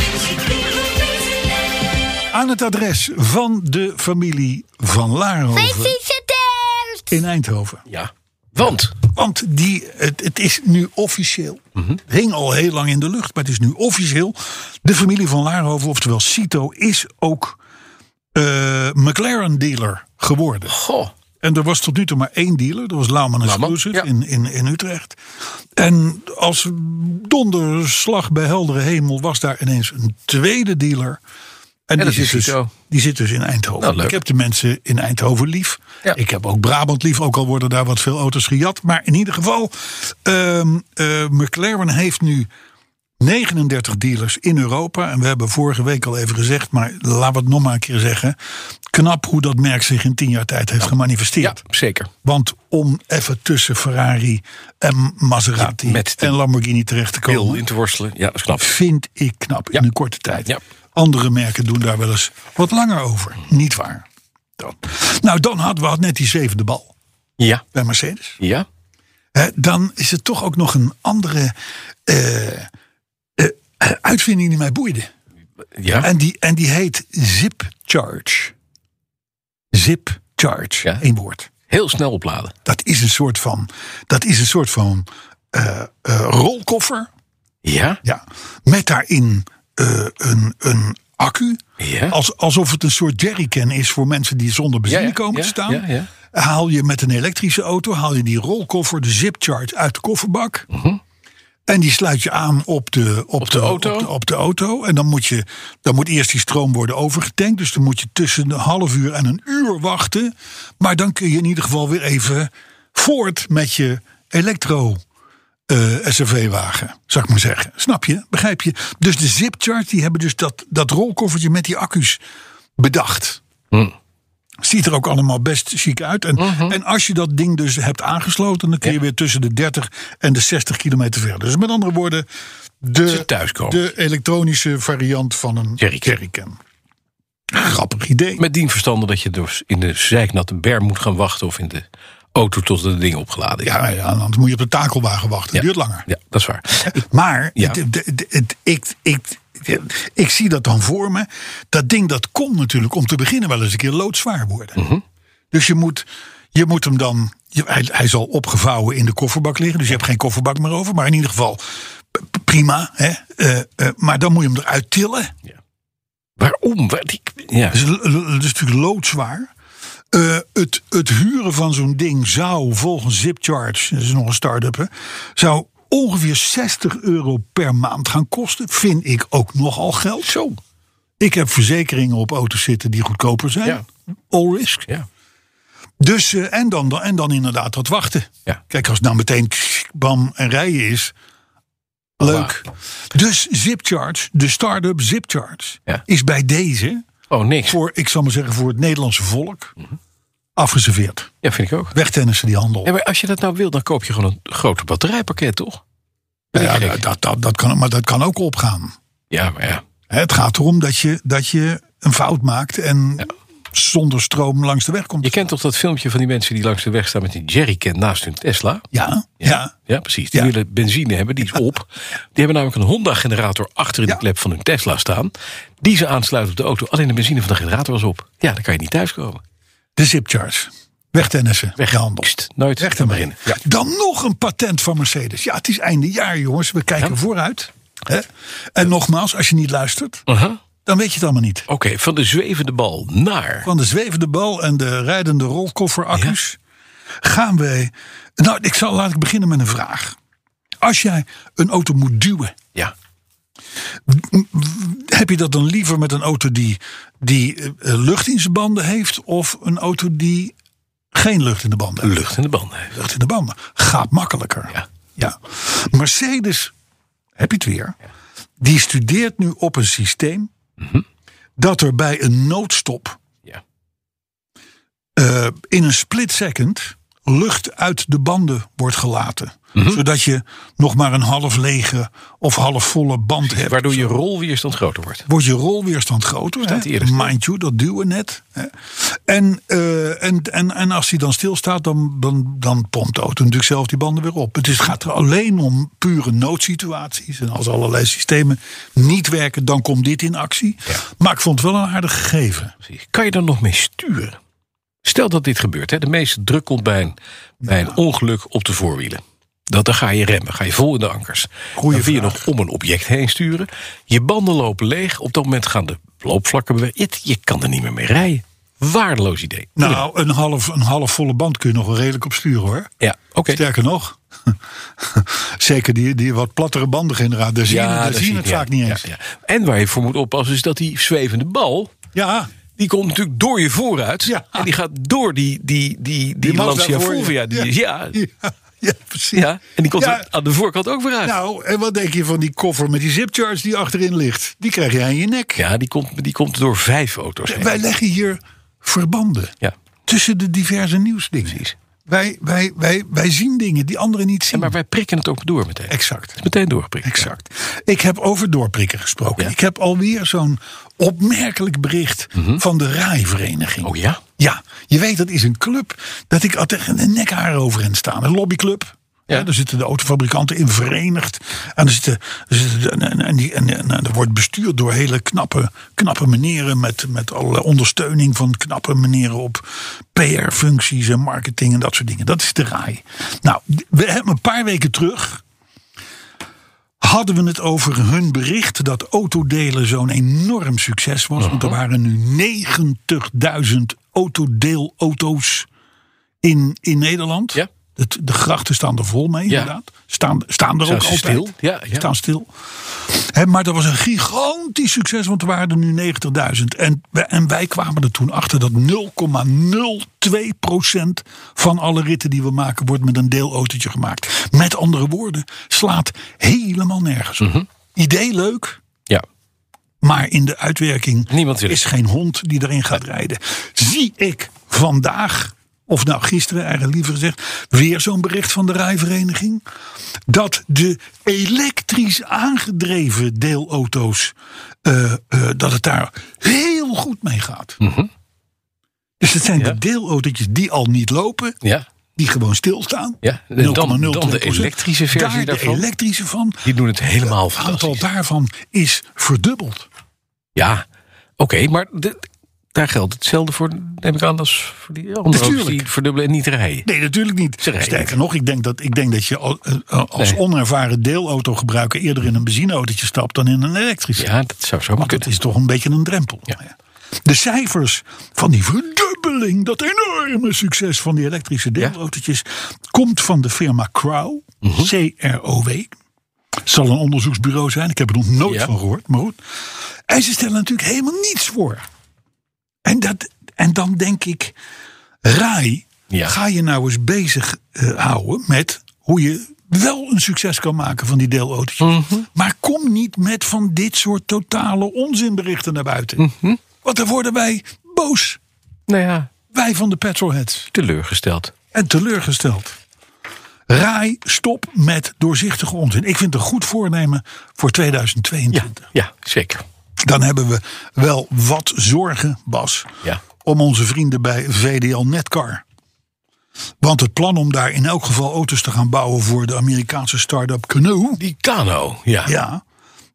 aan het adres van de familie van Laarhoven
Gefeliciteerd!
in Eindhoven.
Ja. Want,
Want die, het, het is nu officieel.
Mhm.
Het hing al heel lang in de lucht, maar het is nu officieel. De familie van Laarhoven, oftewel Cito, is ook eh, McLaren-dealer geworden.
goh.
En er was tot nu toe maar één dealer. Dat was Lauman
Lauman,
Exclusive
ja.
in, in, in Utrecht. En als donderslag bij heldere hemel was daar ineens een tweede dealer. En,
dat
die,
is
zit dus,
Cito.
die zit dus in Eindhoven.
Nou, leuk.
Ik heb de mensen in Eindhoven lief.
Ja.
Ik heb ook Brabant lief. Ook al worden daar wat veel auto's gejat. Maar in ieder geval, ehm, eh, McLaren heeft nu 39 dealers in Europa. En we hebben vorige week al even gezegd, maar laten we het nog maar een keer zeggen. Knap hoe dat merk zich in 10 jaar tijd heeft
Ja,
gemanifesteerd.
zeker.
Want om even tussen Ferrari en Maserati
Met de
en Lamborghini terecht te
Wil
komen,
in te worstelen. Ja, dat is knap.
vind ik knap
Ja.
in een korte tijd.
Ja.
Andere merken doen daar wel eens wat langer over. Niet waar. Dan. Nou, dan hadden we had net die zevende bal
Ja.
bij Mercedes.
Ja.
Hè, dan is het toch ook nog een andere eh, eh, uitvinding die mij boeide.
Ja.
En die, en die heet Zip Charge. Zip Charge,
Ja.
één woord.
Heel snel opladen.
Dat is een soort van, dat is een soort van eh, eh, rolkoffer.
Ja.
Ja. Met daarin eh, een, een accu.
Ja.
Als, alsof het een soort jerrycan is voor mensen die zonder benzine
Ja, ja,
komen te
ja,
staan.
ja, ja.
Haal je met een elektrische auto, haal je die rolkoffer, de zipcharge uit de kofferbak. En die sluit je aan op de, op, de,
Mhm. auto?
Op de, op de auto. En dan moet, je, dan moet eerst die stroom worden overgetankt. Dus dan moet je tussen een half uur en een uur wachten. Maar dan kun je in ieder geval weer even voort met je elektro eh, SRV-wagen, zou ik maar zeggen. Snap je? Begrijp je? Dus de Zipchart, die hebben dus dat, dat rolkoffertje met die accu's bedacht.
Hm.
Ziet er ook allemaal best chic uit. En,
Mhm.
en als je dat ding dus hebt aangesloten, dan kun je weer tussen de 30 en de 60 kilometer verder. Dus met andere woorden,
Ze
de,
thuiskomen.
de elektronische variant van een
Jerrycan.
jerrycan. Grappig idee.
Met dien verstande dat je dus in de zeiknatte berm moet gaan wachten... of in de auto tot het ding opgeladen is.
Ja, ja, anders moet je op de takelwagen wachten.
Ja.
Dat duurt langer.
Ja, dat is waar.
Maar
Ja.
het- het- het- het- ik, ik, ik zie dat dan voor me. Dat ding dat kon natuurlijk om te beginnen wel eens een keer loodzwaar worden. Dus je moet, je moet hem dan. je- Hij, hij zal opgevouwen in de kofferbak liggen. Dus je hebt geen kofferbak meer over. Maar in ieder geval p- p- prima. Hè? Eh, eh, maar dan moet je hem eruit tillen.
Waarom? Waar- die- Ja.
Dus l- l- Dat is natuurlijk loodzwaar. Eh, het, het huren van zo'n ding zou volgens Zipcharge, dat is nog een start-up, hè, zou ongeveer 60 euro per maand gaan kosten. Vind ik ook nogal geld. Zo. Ik heb verzekeringen op auto's zitten die goedkoper zijn.
Ja.
All risk.
Ja.
Dus, eh, en, dan, dan- en dan inderdaad wat wachten.
Ja.
Kijk, als het nou meteen ksh, bam en rijden is. Leuk. Dus Zipcharge, de start-up Zipcharge,
Ja.
is bij deze
Oh, niks.
voor, ik zal maar zeggen, voor het Nederlandse volk afgeserveerd.
Ja, vind ik ook.
Wegtennissen die handel.
Ja, maar als je dat nou wil, dan koop je gewoon een groter batterijpakket, toch?
Nou ja, dat, dat, dat, dat kan, maar dat kan ook opgaan.
Ja, maar ja.
Hè, Het gaat erom dat je, dat je een fout maakt en zonder stroom langs de weg komt.
Je kent toch dat filmpje van die mensen die langs de weg staan met die jerrycan naast hun Tesla?
ja, ja.
Ja, precies. Die
Ja.
willen benzine hebben, die is op. Die hebben namelijk een Honda-generator achter in de
Ja.
klep van hun Tesla staan. Die ze aansluiten op de auto. Alleen de benzine van de generator was op. Ja, dan kan je niet thuiskomen.
De zipcharge. Wegtennissen. Weghandel.
Pst, nooit.
Weg
Dan
ermee.
beginnen. Ja.
Dan nog een patent van Mercedes. Ja, het is einde jaar, jongens. We kijken
Ja.
vooruit. Hè? En nogmaals, als je niet luistert,
Aha.
dan weet je het allemaal niet.
Oké, van de zwevende bal naar.
Van de zwevende bal en de rijdende rolkofferaccu's gaan wij. Nou, ik zal, laat ik beginnen met een vraag. Als jij een auto moet duwen,
Ja.
heb je dat dan liever met een auto die, die eh, lucht in zijn banden heeft of een auto die geen lucht in de banden heeft?
Lucht in de banden.
lucht in de banden. Gaat makkelijker.
Ja.
Mercedes, heb je het weer, die studeert nu op een systeem dat er bij een noodstop
Mhm. Ja.
eh, in een split second lucht uit de banden wordt gelaten.
Mhm.
Zodat je nog maar een half lege of half volle band hebt.
Waardoor je rolweerstand groter wordt.
wordt je rolweerstand groter.
Staat
hè?
hij eerder stil?
Mind you, dat duwen net. Hè? En, eh, en, en, en als hij dan stilstaat, dan, dan, dan pompt de auto natuurlijk zelf die banden weer op. Het is, gaat er alleen om pure noodsituaties. En als allerlei systemen niet werken, dan komt dit in actie. Maar ik vond het wel een aardig gegeven.
Precies. Kan je daar nog mee sturen? Stel dat dit gebeurt. Hè? De meeste druk komt bij een, bij een ongeluk op de voorwielen. Dat, dan ga je remmen, ga je vol in de ankers.
Goeie
dan wil je
vraag.
nog om een object heen sturen. Je banden lopen leeg. Op dat moment gaan de loopvlakken bewegen. Het- Je kan er niet meer mee rijden. Waardeloos idee.
Nou, een half, een half volle band kun je nog wel redelijk op sturen hoor.
Ja, oké.
Sterker nog, zeker die, die wat plattere bandengenerator. Daar zie je, daar zie je het
ja,
vaak niet
ja,
eens. Ja,
ja. En waar je voor moet oppassen is dat die zwevende bal...
ja.
Die komt natuurlijk door je vooruit.
Ja.
En die gaat door die, die, die, die,
Die Mazda
Lancia
voor je.
Fulvia. Die, ja. Ja.
ja, precies.
en die komt
Ja.
er Oh, aan de voorkant ook weer uit.
Nou, en wat denk je van die koffer met die zipcharge die achterin ligt? Die krijg jij in je nek.
Ja, die komt, die komt door vijf auto's heen.
Wij leggen hier verbanden
Ja.
tussen de diverse nieuwsdingen. Wij, wij, wij, wij zien dingen die anderen niet
En
zien.
maar wij prikken het ook door meteen. Het
Exact.
is meteen doorprikken.
Exact. Ik heb over doorprikken gesproken.
Ja.
Ik heb alweer zo'n opmerkelijk bericht van de RAI-vereniging.
Mhm. Oh ja?
Ja, je weet dat is een club dat ik altijd tegen de nekhaar over hen staan. Een lobbyclub.
Ja.
Ja. daar zitten de autofabrikanten in verenigd. En, er zitten, er zitten- en, en, die- en, en- en er wordt bestuurd door hele knappe, knappe meneren. Met, met allerlei ondersteuning van knappe meneren op PR-functies en marketing en dat soort dingen. Dat is de RAI. Nou, we hebben een paar weken terug hadden we het over hun bericht dat autodelen zo'n enorm succes was. Want er
Mhm.
waren nu 90.000 autodeelauto's in, in Nederland.
Ja.
Het, de grachten staan er vol mee,
Ja.
inderdaad. Staan, staan er
Staan
ook
ze
altijd.
stil? Ja, ja.
Staan stil. Hè, maar dat was een gigantisch succes, want er waren er nu 90.000. En, wij- en wij kwamen er toen achter dat 0,02% van alle ritten die we maken... wordt met een deelautootje gemaakt. Met andere woorden, slaat helemaal nergens
Mhm.
op. Idee leuk,
Ja.
maar in de uitwerking
Niemand wil
is geen hond die erin gaat rijden. Zie ik vandaag, of nou gisteren eigenlijk liever gezegd, weer zo'n bericht van de rijvereniging. Dat de elektrisch aangedreven deelauto's, eh, eh, dat het daar heel goed mee gaat.
Mhm.
Dus het zijn de deelautootjes die al niet lopen,
Ja.
die gewoon stilstaan.
Ja, en dan- dan de
0,02%.
elektrische versie
daar
daarvan.
De elektrische van.
Die doen het helemaal
Het aantal
fantastisch.
daarvan is verdubbeld.
Ja. Oké, maar de- daar geldt hetzelfde voor, neem ik aan, als voor die andere auto's
Natuurlijk.
die verdubbelen en niet rijden.
Nee, natuurlijk niet.
Ze rijden
Sterker nog, ik denk dat, ik denk dat je al- eh, als
Nee.
onervaren deelautogebruiker eerder in een benzineautootje stapt dan in een elektrische.
Ja, dat zou zo maar
Want het
kunnen.
is toch een beetje een drempel.
Ja.
De cijfers van die verdubbeling, dat enorme succes van die elektrische deelautootjes, komt van de firma Crow,
Mhm.
CROW. Het zal een onderzoeksbureau zijn, ik heb er nog nooit
Ja.
van gehoord, maar goed. En ze stellen natuurlijk helemaal niets voor. En, dat, en dan denk ik, Rai,
Ja.
ga je nou eens bezig eh, houden met hoe je wel een succes kan maken van die deelautootjes. Maar kom niet met van dit soort totale onzinberichten naar buiten. Want dan worden wij boos.
Nou ja,
Wij van de petrolheads.
teleurgesteld.
En teleurgesteld. Rai, stop met doorzichtige onzin. Ik vind het een goed voornemen voor 2022.
ja, zeker.
Dan hebben we wel wat zorgen, Bas,
Ja.
om onze vrienden bij VDL Netcar. Want het plan om daar in elk geval auto's te gaan bouwen voor de Amerikaanse start-up Canoe,
Die Kano, ja. ja.
ja,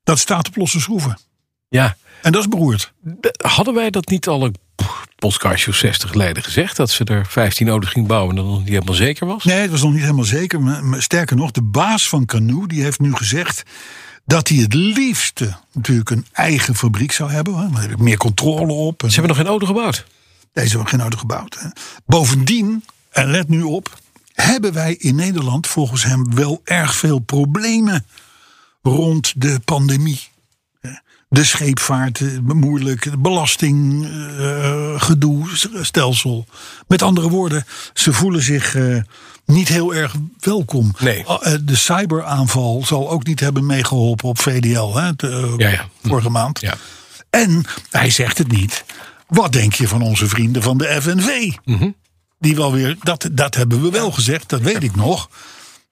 dat staat op losse schroeven. En dat is beroerd.
De- Hadden wij dat niet al een pff, podcastje of 60 geleden gezegd? Dat ze er 15 nodig ging bouwen en dat het nog niet helemaal zeker was?
Nee, het was nog niet helemaal zeker. maar- maar Sterker nog, de baas van Canoe die heeft nu gezegd dat hij het liefste natuurlijk een eigen fabriek zou hebben. hè. Daar heb ik meer controle op. En
Ze hebben nog geen auto gebouwd.
Deze hebben geen auto gebouwd. Hè. Bovendien, en let nu op, hebben wij in Nederland volgens hem wel erg veel problemen rond de pandemie. De scheepvaart, eh, moeilijk, eh, het belastinggedoe-stelsel. Met andere woorden, ze voelen zich eh, niet heel erg welkom.
Nee.
Ah, eh, De cyberaanval zal ook niet hebben meegeholpen op VDL hè, de, eh,
Ja, ja. Hm.
vorige maand.
Ja.
En hij zegt het niet. Wat denk je van onze vrienden van de FNV?
Mhm.
Die wel weer, dat, dat hebben we wel gezegd, dat weet ik nog.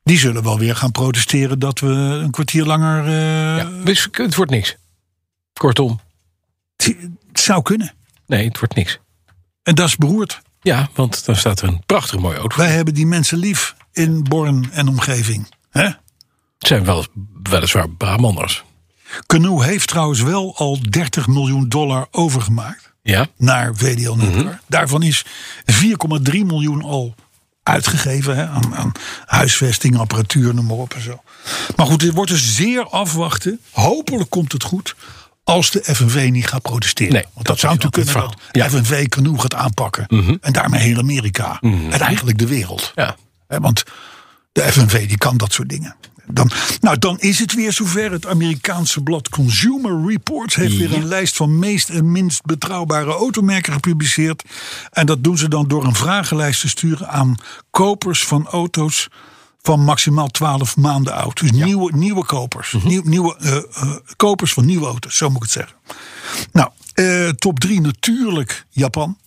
Die zullen wel weer gaan protesteren dat we een kwartier langer. eh,
Ja. Dus het wordt niks. Kortom,
Het zou kunnen.
nee, het wordt niks.
En dat is beroerd.
Ja, want dan staat er een prachtig mooie auto.
Wij hebben die mensen lief in Born en omgeving. hè?
Het zijn wel, weliswaar Brabanders.
Canoe heeft trouwens wel al 30 miljoen dollar overgemaakt
Ja,
naar VDL Netcar.
Mhm.
Daarvan is 4,3 miljoen al uitgegeven hè, aan, aan huisvesting, apparatuur, noem maar op en zo. Maar goed, dit wordt dus zeer afwachten. Hopelijk komt het goed als de FNV niet gaat protesteren.
Nee,
Want dat,
dat
zou
is
natuurlijk kunnen
altijd
dat
het
de
verhaal.
FNV Canoe gaat aanpakken. En daarmee heel Amerika. En eigenlijk de wereld.
ja.
Hè, want de FNV die kan dat soort dingen. Dan, nou, dan is het weer zover. Het Amerikaanse blad Consumer Reports heeft weer een lijst van meest en minst betrouwbare automerken gepubliceerd. En dat doen ze dan door een vragenlijst te sturen aan kopers van auto's van maximaal 12 maanden oud. Dus nieuwe, nieuwe kopers. Nieuw- nieuwe eh, eh, kopers van nieuwe auto's, zo moet ik het zeggen. Nou, eh, top 3 natuurlijk Japan.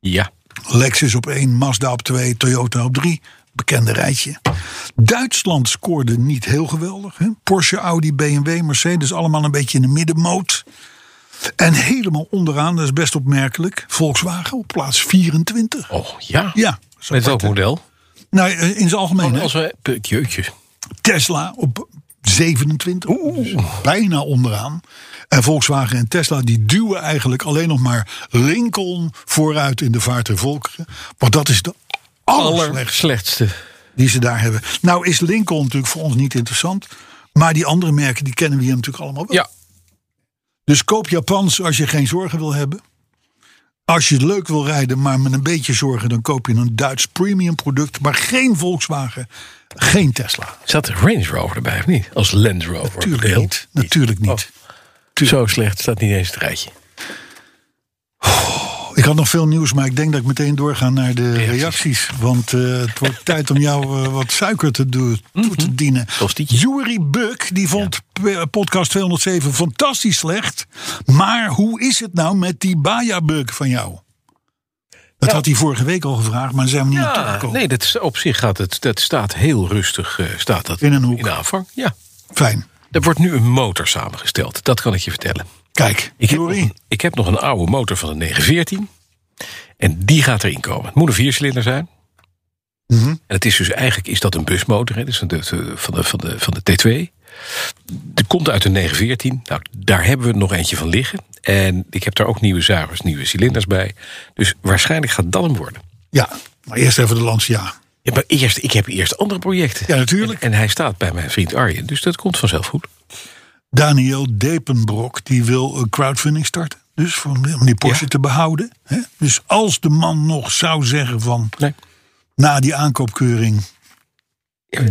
Ja.
Lexus op 1, Mazda op 2, Toyota op 3. Bekende rijtje. Duitsland scoorde niet heel geweldig. Hè? Porsche, Audi, BMW, Mercedes allemaal een beetje in de middenmoot. En helemaal onderaan, dat is best opmerkelijk, Volkswagen op plaats 24.
Oh, ja.
Ja, zo
Met welk
apart, hè?
model?
Nou, eh, in zijn algemeen.
Oh,
hè?
als we, jeutjes.
Tesla op 27. Dus bijna onderaan. En Volkswagen en Tesla die duwen eigenlijk alleen nog maar Lincoln vooruit in de vaart der volkeren. Want dat is de allerslechtste
Slechtste.
die ze daar hebben. Nou is Lincoln natuurlijk voor ons niet interessant. Maar die andere merken die kennen we hier natuurlijk allemaal wel.
Ja.
Dus koop Japans als je geen zorgen wil hebben. Als je het leuk wil rijden, maar met een beetje zorgen... dan koop je een Duits premium product. Maar geen Volkswagen, geen Tesla.
Zat er Range Rover erbij of niet? Als Land Rover.
Natuurlijk
Heel-
niet. Natuurlijk niet.
Zo slecht staat niet eens het rijtje.
Ik had nog veel nieuws, maar ik denk dat ik meteen doorga naar de reacties. Want eh, het wordt tijd om jou eh, wat suiker te doen, toe
Mhm.
te dienen.
Tostietje.
Jury Buck, die vond eh, podcast 207 fantastisch slecht. Maar hoe is het nou met die Baja Buck van jou? Dat had hij vorige week al gevraagd, maar daar zijn we niet aan toegekomen.
Ah. nee, dat is, op zich gaat het, dat staat heel rustig eh, staat dat
In een hoek.
In de aanvang, ja.
Fijn.
Er wordt nu een motor samengesteld, dat kan ik je vertellen.
Kijk,
Ik heb, nog,
Jury.
een- ik heb nog een oude motor van een 914. En die gaat erin komen. Het moet een viercilinder zijn.
Mhm.
En het is dus eigenlijk is dat een busmotor. Hè? Dus van de, van, de, van, de, van de T2. Die komt uit een 914. Nou, daar hebben we nog eentje van liggen. En ik heb daar ook nieuwe zuigers, nieuwe cilinders bij. Dus waarschijnlijk gaat dat hem worden.
Ja, maar eerst even de Lancia.
Ja, maar eerst, ik heb eerst andere projecten.
Ja, natuurlijk.
En, en hij staat bij mijn vriend Arjen. Dus dat komt vanzelf goed.
Daniel Depenbrok die wil een crowdfunding starten. Dus voor, om die Porsche
Ja.
te behouden. Hè? Dus als de man nog zou zeggen van
Nee.
na die aankoopkeuring...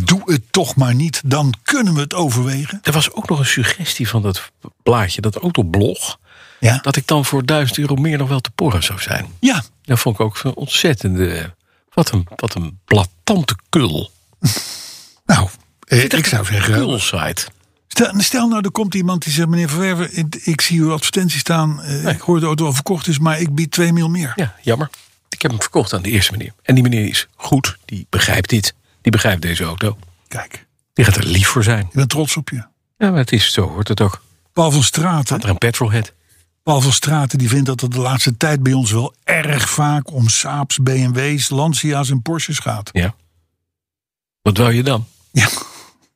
doe het toch maar niet, dan kunnen we het overwegen.
Er was ook nog een suggestie van dat blaadje, dat autoblog.
Ja,
dat ik dan voor 1000 euro meer nog wel te porren zou zijn.
ja
Dat vond ik ook een ontzettende. Wat een, wat een blattante kul.
nou, eh, ik zou zeggen...
Kulsite.
Stel, stel nou, er komt iemand die zegt... meneer Verwerven, ik, ik zie uw advertentie staan. eh, Ik hoor dat de auto al verkocht is, maar ik bied 2 mil meer.
Ja, jammer. Ik heb hem verkocht aan de eerste meneer. En die meneer is goed, die begrijpt dit. die begrijpt deze auto.
Kijk,
Die gaat er lief voor zijn.
ik ben trots op je.
Ja, maar het is zo, hoort het ook.
Paul van
Er
Straten,
een petrolhead.
Paul van Straten die vindt dat het de laatste tijd bij ons wel erg vaak om Saabs, BMW's, Lancia's en Porsches gaat.
Ja. Wat wou je dan?
Ja,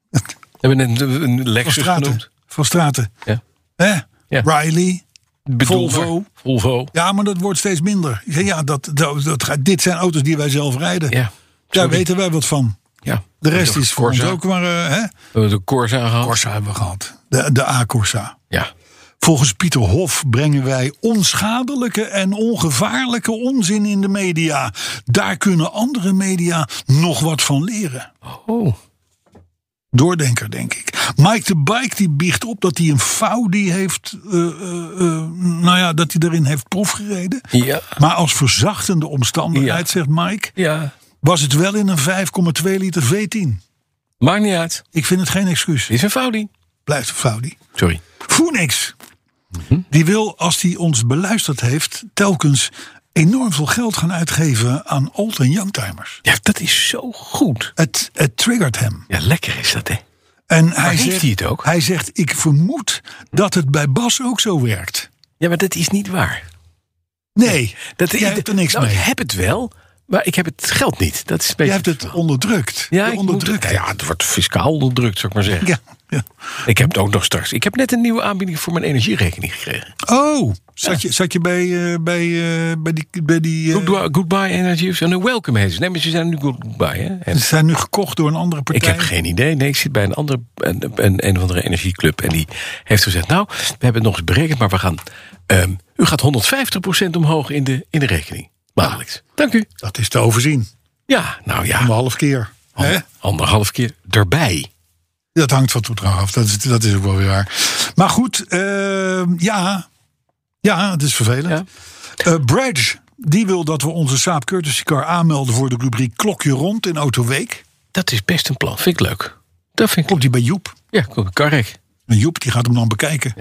We hebben net een, een
van
Lexus
Straten.
genoemd.
Van Straten.
Ja.
Hè?
Ja.
Riley.
Bedoel
Volvo.
maar. Volvo.
Ja, maar dat wordt steeds minder. Ik zeg, Ja, dat, dat, dat gaat- dit zijn auto's die wij zelf rijden.
Ja.
Daar weten wij wat van.
ja.
De rest is voor ons
Corsa.
ook maar... eh, hè?
We hebben de Corsa gehad.
Corsa hebben we gehad. De, de A-Corsa.
Ja.
Volgens Pieter Hof brengen wij onschadelijke en ongevaarlijke onzin in de media. Daar kunnen andere media nog wat van leren.
Oh.
Doordenker, denk ik. Mike de Bike die biecht op dat hij een Faudi heeft. eh, eh, eh, nou ja, dat hij daarin heeft proefgereden.
Ja.
Maar als verzachtende omstandigheid,
Ja.
zegt Mike,
Ja.
was het wel in een 5,2 liter V10.
Maakt niet uit.
Ik vind het geen excuus.
Dit is een Faudi.
Blijft een Faudi.
Sorry.
Phoenix.
Mhm.
Die wil, als hij ons beluisterd heeft, telkens enorm veel geld gaan uitgeven aan old- en youngtimers.
Ja, dat is zo goed.
Het, het triggert hem.
Ja, lekker is dat, hè?
En hij
heeft
zegt,
hij het ook?
Hij zegt, ik vermoed dat het bij Bas ook zo werkt.
Ja, maar dat is niet waar.
Nee,
Dat,
jij hebt er niks
nou,
mee.
Ik heb het wel, maar ik heb het geld niet. Dat is een beetje
Jij hebt het onderdrukt.
ja,
Je
ik
onderdrukt.
moet- ja, het wordt fiscaal onderdrukt, zou ik maar zeggen.
Ja, ja.
Ik heb het ook nog straks. Ik heb net een nieuwe aanbieding voor mijn energierekening gekregen.
Oh, zat, je, zat je bij, eh, bij, eh, bij die... Bij die eh,
Goodbye, goodbye Energy of zo. Nee, welcome heet ze. Nee, maar ze zijn nu Goodbye. Hè? En
ze zijn nu gekocht door een andere partij.
ik heb geen idee. Nee, ik zit bij een, andere, een, een, een of andere energieclub. En die heeft gezegd, nou, we hebben het nog eens berekend. Maar we gaan, ehm, u gaat 150% omhoog in de, in de rekening. Maandelijks. Dank u.
Dat is te overzien.
Ja, nou ja.
Een half keer.
Oh.
Hè?
Anderhalf keer erbij.
Dat hangt van toedrag af. Dat is, dat is ook wel weer waar. Maar goed, ehm, ja. Ja, het is vervelend. Eh, Bridge, die wil dat we onze Saab Courtesy Car aanmelden voor de rubriek Klokje Rond in Autoweek.
Dat is best een plan. Vind ik leuk. Dat vind ik
Komt die bij Joep.
Ja, klopt. Karrek.
En Joep die gaat hem dan bekijken.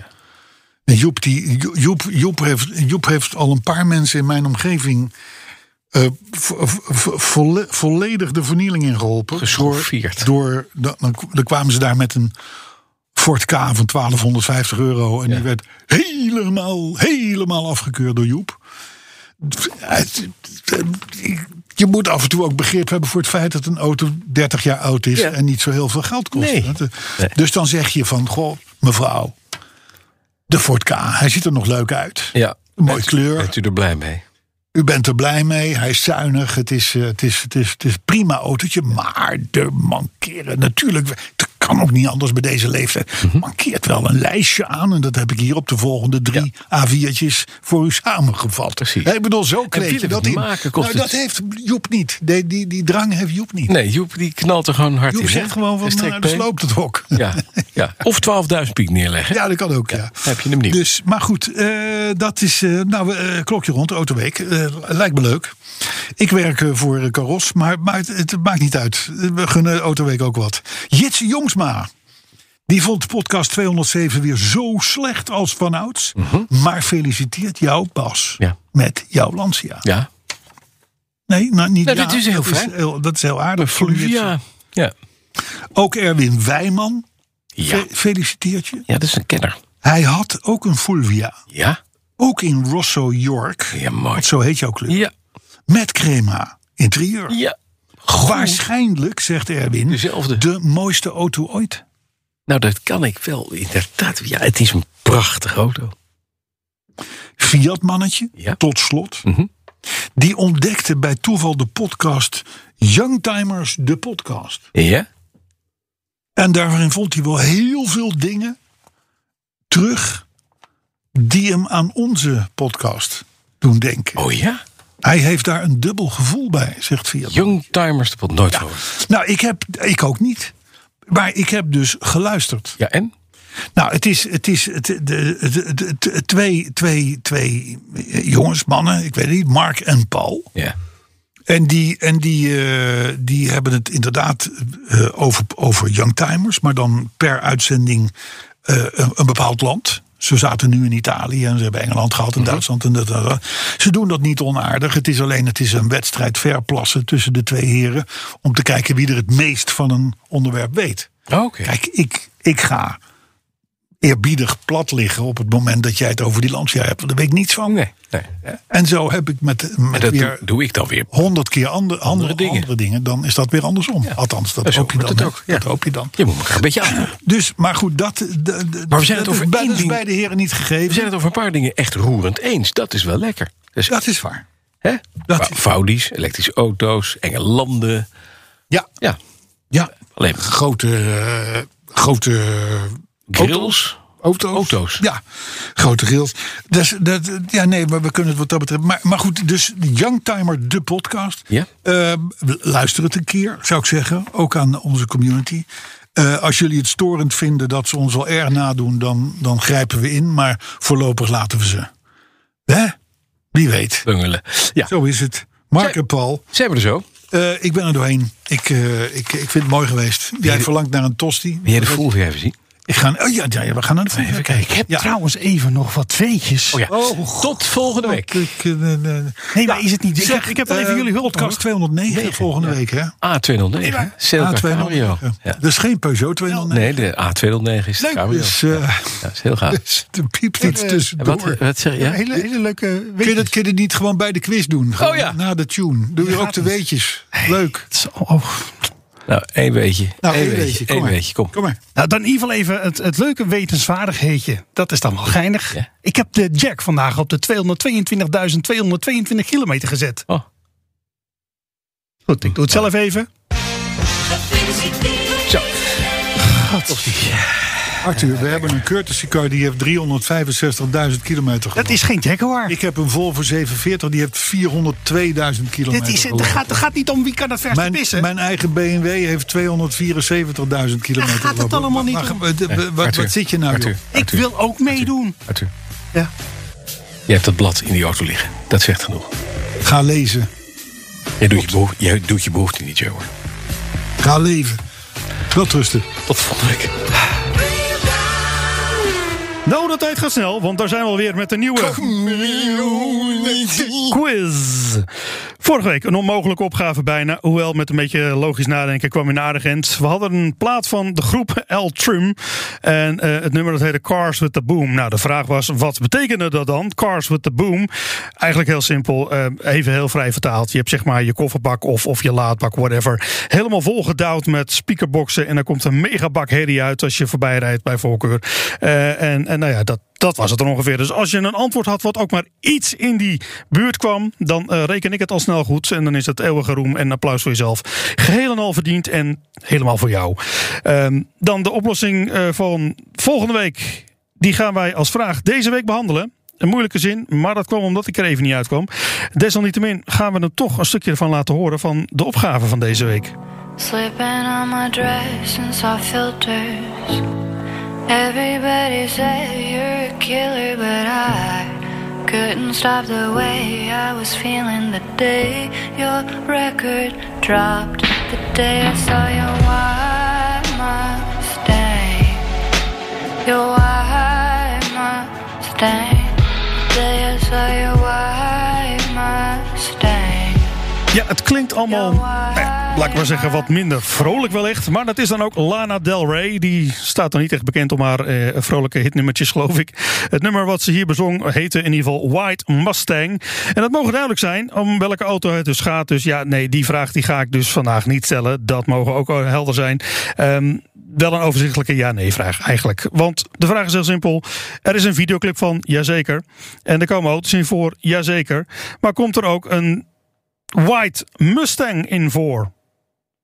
En Joep, die, Jo- Joep, Joep, heeft, Joep heeft al een paar mensen in mijn omgeving eh, vo- vo- vo- volle- volledig de vernieling ingeholpen.
Geschroefvierd.
Door, door, dan, dan kwamen ze daar met een Ford K van 1250 euro. En die werd helemaal, helemaal afgekeurd door Joep. Het- het- Je moet af en toe ook begrip hebben voor het feit dat een auto 30 jaar oud is
Ja.
en niet zo heel veel geld kost.
Nee.
Dat, eh, Dus dan zeg je van, goh, mevrouw, de Ford K, hij ziet er nog leuk uit.
Ja.
Mooie kleur.
Bent u er blij mee?
U bent er blij mee, hij is zuinig, het is, eh, het is, het is, het is een prima autootje. Maar er mankeren natuurlijk, het kan ook niet anders bij deze leeftijd,
Mhm.
mankeert wel een lijstje aan. En dat heb ik hier op de volgende drie A4'tjes voor u samengevat.
Precies.
Ik bedoel, zo
willen
kleed
we
je dat
het
in.
maken, kost
nou, dat
het-
heeft Joep niet. Die, die, die drang heeft Joep niet.
Nee, Joep die knalt er gewoon hard in.
Joep
hè?
zegt gewoon
Een
van,
strek
nou, dus
P.
loopt het hok.
Ja, ja. Of 12.000 piek neerleggen.
Ja, dat kan ook, ja.
heb je hem niet.
Dus, maar goed, eh, dat is... eh, nou, eh, klokje rond, autoweek. Eh, lijkt me leuk. Ik werk eh, voor eh, Caros, maar, maar het, het maakt niet uit. Eh, We gunnen autoweek ook wat. Jits Jongsma. Die vond podcast 207 weer zo slecht als vanouds. Maar feliciteert jou, Bas,
Mhm. Ja.
met jouw Lancia.
Ja.
Nee, nou, niet
Nou,
ja,
dit is heel fijn.
dat is heel aardig.
Ja. Ja.
Ook Erwin Wijman
Ja.
fe- feliciteert je.
ja, dat is een kenner.
Hij had ook een Fulvia.
Ja.
Ook in Rosso York.
Ja, mooi.
Want zo heet jouw club.
Ja.
Met crema. Interieur.
Ja.
Waarschijnlijk, zegt Erwin,
Dezelfde.
de mooiste auto ooit.
Nou, dat kan ik wel. Inderdaad. Ja, het is een prachtige auto.
Fiat mannetje,
Ja.
tot slot.
Mhm.
Die ontdekte bij toeval de podcast Youngtimers, de podcast.
Ja.
En daarin vond hij wel heel veel dingen terug die hem aan onze podcast doen denken.
Oh ja.
Hij heeft daar een dubbel gevoel bij, zegt Fiat.
Youngtimers, dat wordt nooit gehoord.
Nou, ik heb, ik ook niet. Maar ik heb dus geluisterd.
Ja, en?
Nou, het is, het is het, de, de- de- de- twee, twee, twee eh, jongens, mannen, ik weet niet, Mark en Paul.
Ja.
En die, en die, eh, die hebben het inderdaad eh, over, over youngtimers, maar dan per uitzending eh, een, een bepaald land. Ze zaten nu in Italië en ze hebben Engeland gehad
Mhm.
en Duitsland. En dat, dat, dat. Ze doen dat niet onaardig. Het is alleen het is een wedstrijd verplassen tussen de twee heren. Om te kijken wie er het meest van een onderwerp weet.
Oh, Oké.
Kijk, ik, ik ga eerbiedig plat liggen op het moment dat jij het over die Lancia hebt. Want daar weet ik niets van.
Nee, nee.
En zo heb ik met,
En
met
dat
weer
doe ik dan weer.
honderd keer andere, andere, andere,
dingen.
dingen. Dan is dat weer andersom. Althans, dat
zo
hoop je
wordt
dan.
het
hè.
ook, ja.
Dat hoop je dan.
Je moet elkaar een beetje aan.
Dus, maar goed, dat, de- de-
Maar we zijn het
dat
over
is, bij,
één
dat is
ding-
bij de heren niet
We
gegeven.
zijn het over een paar dingen echt roerend eens. Dat is wel lekker. Dus,
Dat is waar.
hè?
dat-
Vou- Voudies, elektrische auto's, enge landen.
Ja,
Ja,
ja.
alleen
grote, eh, grote
grills.
auto's.
Auto's.
Ja, grote rails. Dus, dat, ja, nee, maar we kunnen het wat dat betreft. Maar, maar goed, dus Youngtimer, de podcast.
Ja.
Eh, luister het een keer, zou ik zeggen. Ook aan onze community. Eh, als jullie het storend vinden dat ze ons al erg nadoen, dan, dan grijpen we in. Maar voorlopig laten we ze. Hè? Wie weet.
Bungelen. Ja,
Zo is het. Mark
Zij-
en Paul,
zijn we er zo.
eh, ik ben er doorheen. Ik, eh, ik, ik vind het mooi geweest. Jij verlangt naar een tosti.
Wil jij de full even zien?
Ik ga, oh ja, ja, we gaan naar de volgende.
Ik heb
Ja.
trouwens even nog wat tweetjes.
Oh ja, tot volgende week.
Ik, eh, eh, eh,
Nee, maar is het niet? Ik heb, ik heb wel even
eh,
jullie
podcast
oh,
hulpkast.
209 volgende week, hè?
A209, hè? Celta Cabrio.
A209.
Oh, Ja.
Dat is geen Peugeot 209.
Nee, de A209 is de
Leuk,
Cabrio.
dus, eh,
Ja, dat is heel gaaf.
dus er piept iets
En
tussendoor.
wat, wat zeg je? Ja?
Hele, hele leuke
Kun je, dat,
weetjes.
kun je dat niet gewoon bij de quiz doen? Gewoon
Oh, ja.
Na de tune. Doe je ook
gaat
de
het.
weetjes. Leuk.
Oh.
Nou, één beetje.
Nou,
één
één
beetje,
weetje, kom
één
maar.
weetje, kom.
Kom maar.
Nou, dan in ieder geval even het, het leuke wetenswaardigheidje. Dat is dan wel geinig.
Ja.
Ik heb de jack vandaag op de 222.222 kilometer gezet.
Oh,
Goed, eh, ik doe het zelf even.
zo.
Arthur, we hebben een courtesy car die heeft 365.000 kilometer
Dat
gelopen.
is geen Jaguar.
Ik heb een Volvo 47, die heeft 402.000
Dit
kilometer
is, het
gelopen.
gaat, het gaat niet om wie kan het verste
Mijn,
pissen.
mijn eigen BMW heeft 274.000 kilometer gelopen.
gaat het allemaal niet
Maar-
om.
maar- wat- wat- Wat,
Arthur,
zit je nou,
Arthur,
joh?
ik
Arthur,
wil ook meedoen.
Arthur.
Ja.
Je hebt dat blad in die auto liggen. Dat zegt genoeg.
Ga lezen.
Jij doet je, behoef, jij doet je behoefte niet, Joe.
Ga leven. Wel rusten.
Tot volgende week.
Nou, de tijd gaat snel, want daar zijn we alweer met de nieuwe quiz. Vorige week een onmogelijke opgave bijna. Hoewel, met een beetje logisch nadenken kwam je een aardig end. We hadden een plaat van de groep L Trum. En eh, het nummer dat heette Cars with the Boom. Nou, de vraag was, wat betekende dat dan? Cars with the Boom. Eigenlijk heel simpel, eh, even heel vrij vertaald. Je hebt zeg maar je kofferbak of, of je laadbak, whatever. Helemaal volgedouwd met speakerboxen. En dan komt een megabak herrie uit als je voorbij rijdt bij voorkeur. Eh, en, en nou ja, dat, dat was het dan ongeveer. Dus als je een antwoord had wat ook maar iets in die buurt kwam, dan eh, reken ik het al snel goed. En dan is dat eeuwige roem en applaus voor jezelf. Geheel en al verdiend en helemaal voor jou. Ehm, dan de oplossing eh, van volgende week. Die gaan wij als vraag deze week behandelen. Een moeilijke zin, maar dat kwam omdat ik er even niet uitkwam. Desalniettemin gaan we er toch een stukje van laten horen van de opgave van deze week.
Slipping on my dress and soft filters. Everybody said you're a killer, but I couldn't stop the way I was feeling the day your record dropped. The day I saw your white Mustang. Your white Mustang. The day I saw your white Mustang.
Ja, het klinkt allemaal, nou ja, laat ik maar zeggen, wat minder vrolijk wellicht. Maar dat is dan ook Lana Del Rey. Die staat dan niet echt bekend om haar eh, vrolijke hitnummertjes, geloof ik. Het nummer wat ze hier bezong heette in ieder geval White Mustang. En dat mogen duidelijk zijn om welke auto het dus gaat. Dus ja, nee, die vraag die ga ik dus vandaag niet stellen. Dat mogen ook helder zijn. Ehm, wel een overzichtelijke ja-nee-vraag eigenlijk. Want de vraag is heel simpel. Er is een videoclip van, jazeker. En er komen auto's in voor, jazeker. Maar komt er ook een White Mustang in voor?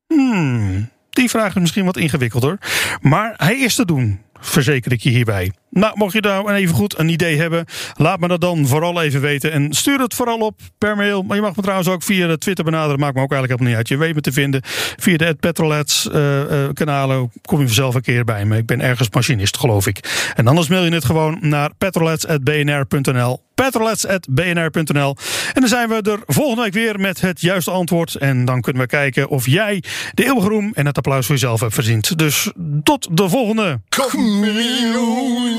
Hmm, die vraag is misschien wat ingewikkelder. Maar hij is te doen, verzeker ik je hierbij. Nou, mocht je daar even goed een idee hebben, laat me dat dan vooral even weten. En stuur het vooral op per mail. Maar je mag me trouwens ook via de Twitter benaderen. Maakt me ook eigenlijk helemaal niet uit. Je weet me te vinden. Via de Petrolets eh, eh, kanalen kom je vanzelf een keer bij me. Ik ben ergens machinist, geloof ik. En anders mail je het gewoon naar petrolets.bnr.nl petrolets.bnr.nl. En dan zijn we er volgende week weer met het juiste antwoord. En dan kunnen we kijken of jij de eeuwige roem en het applaus voor jezelf hebt verdiend. Dus tot de volgende.
Chameleon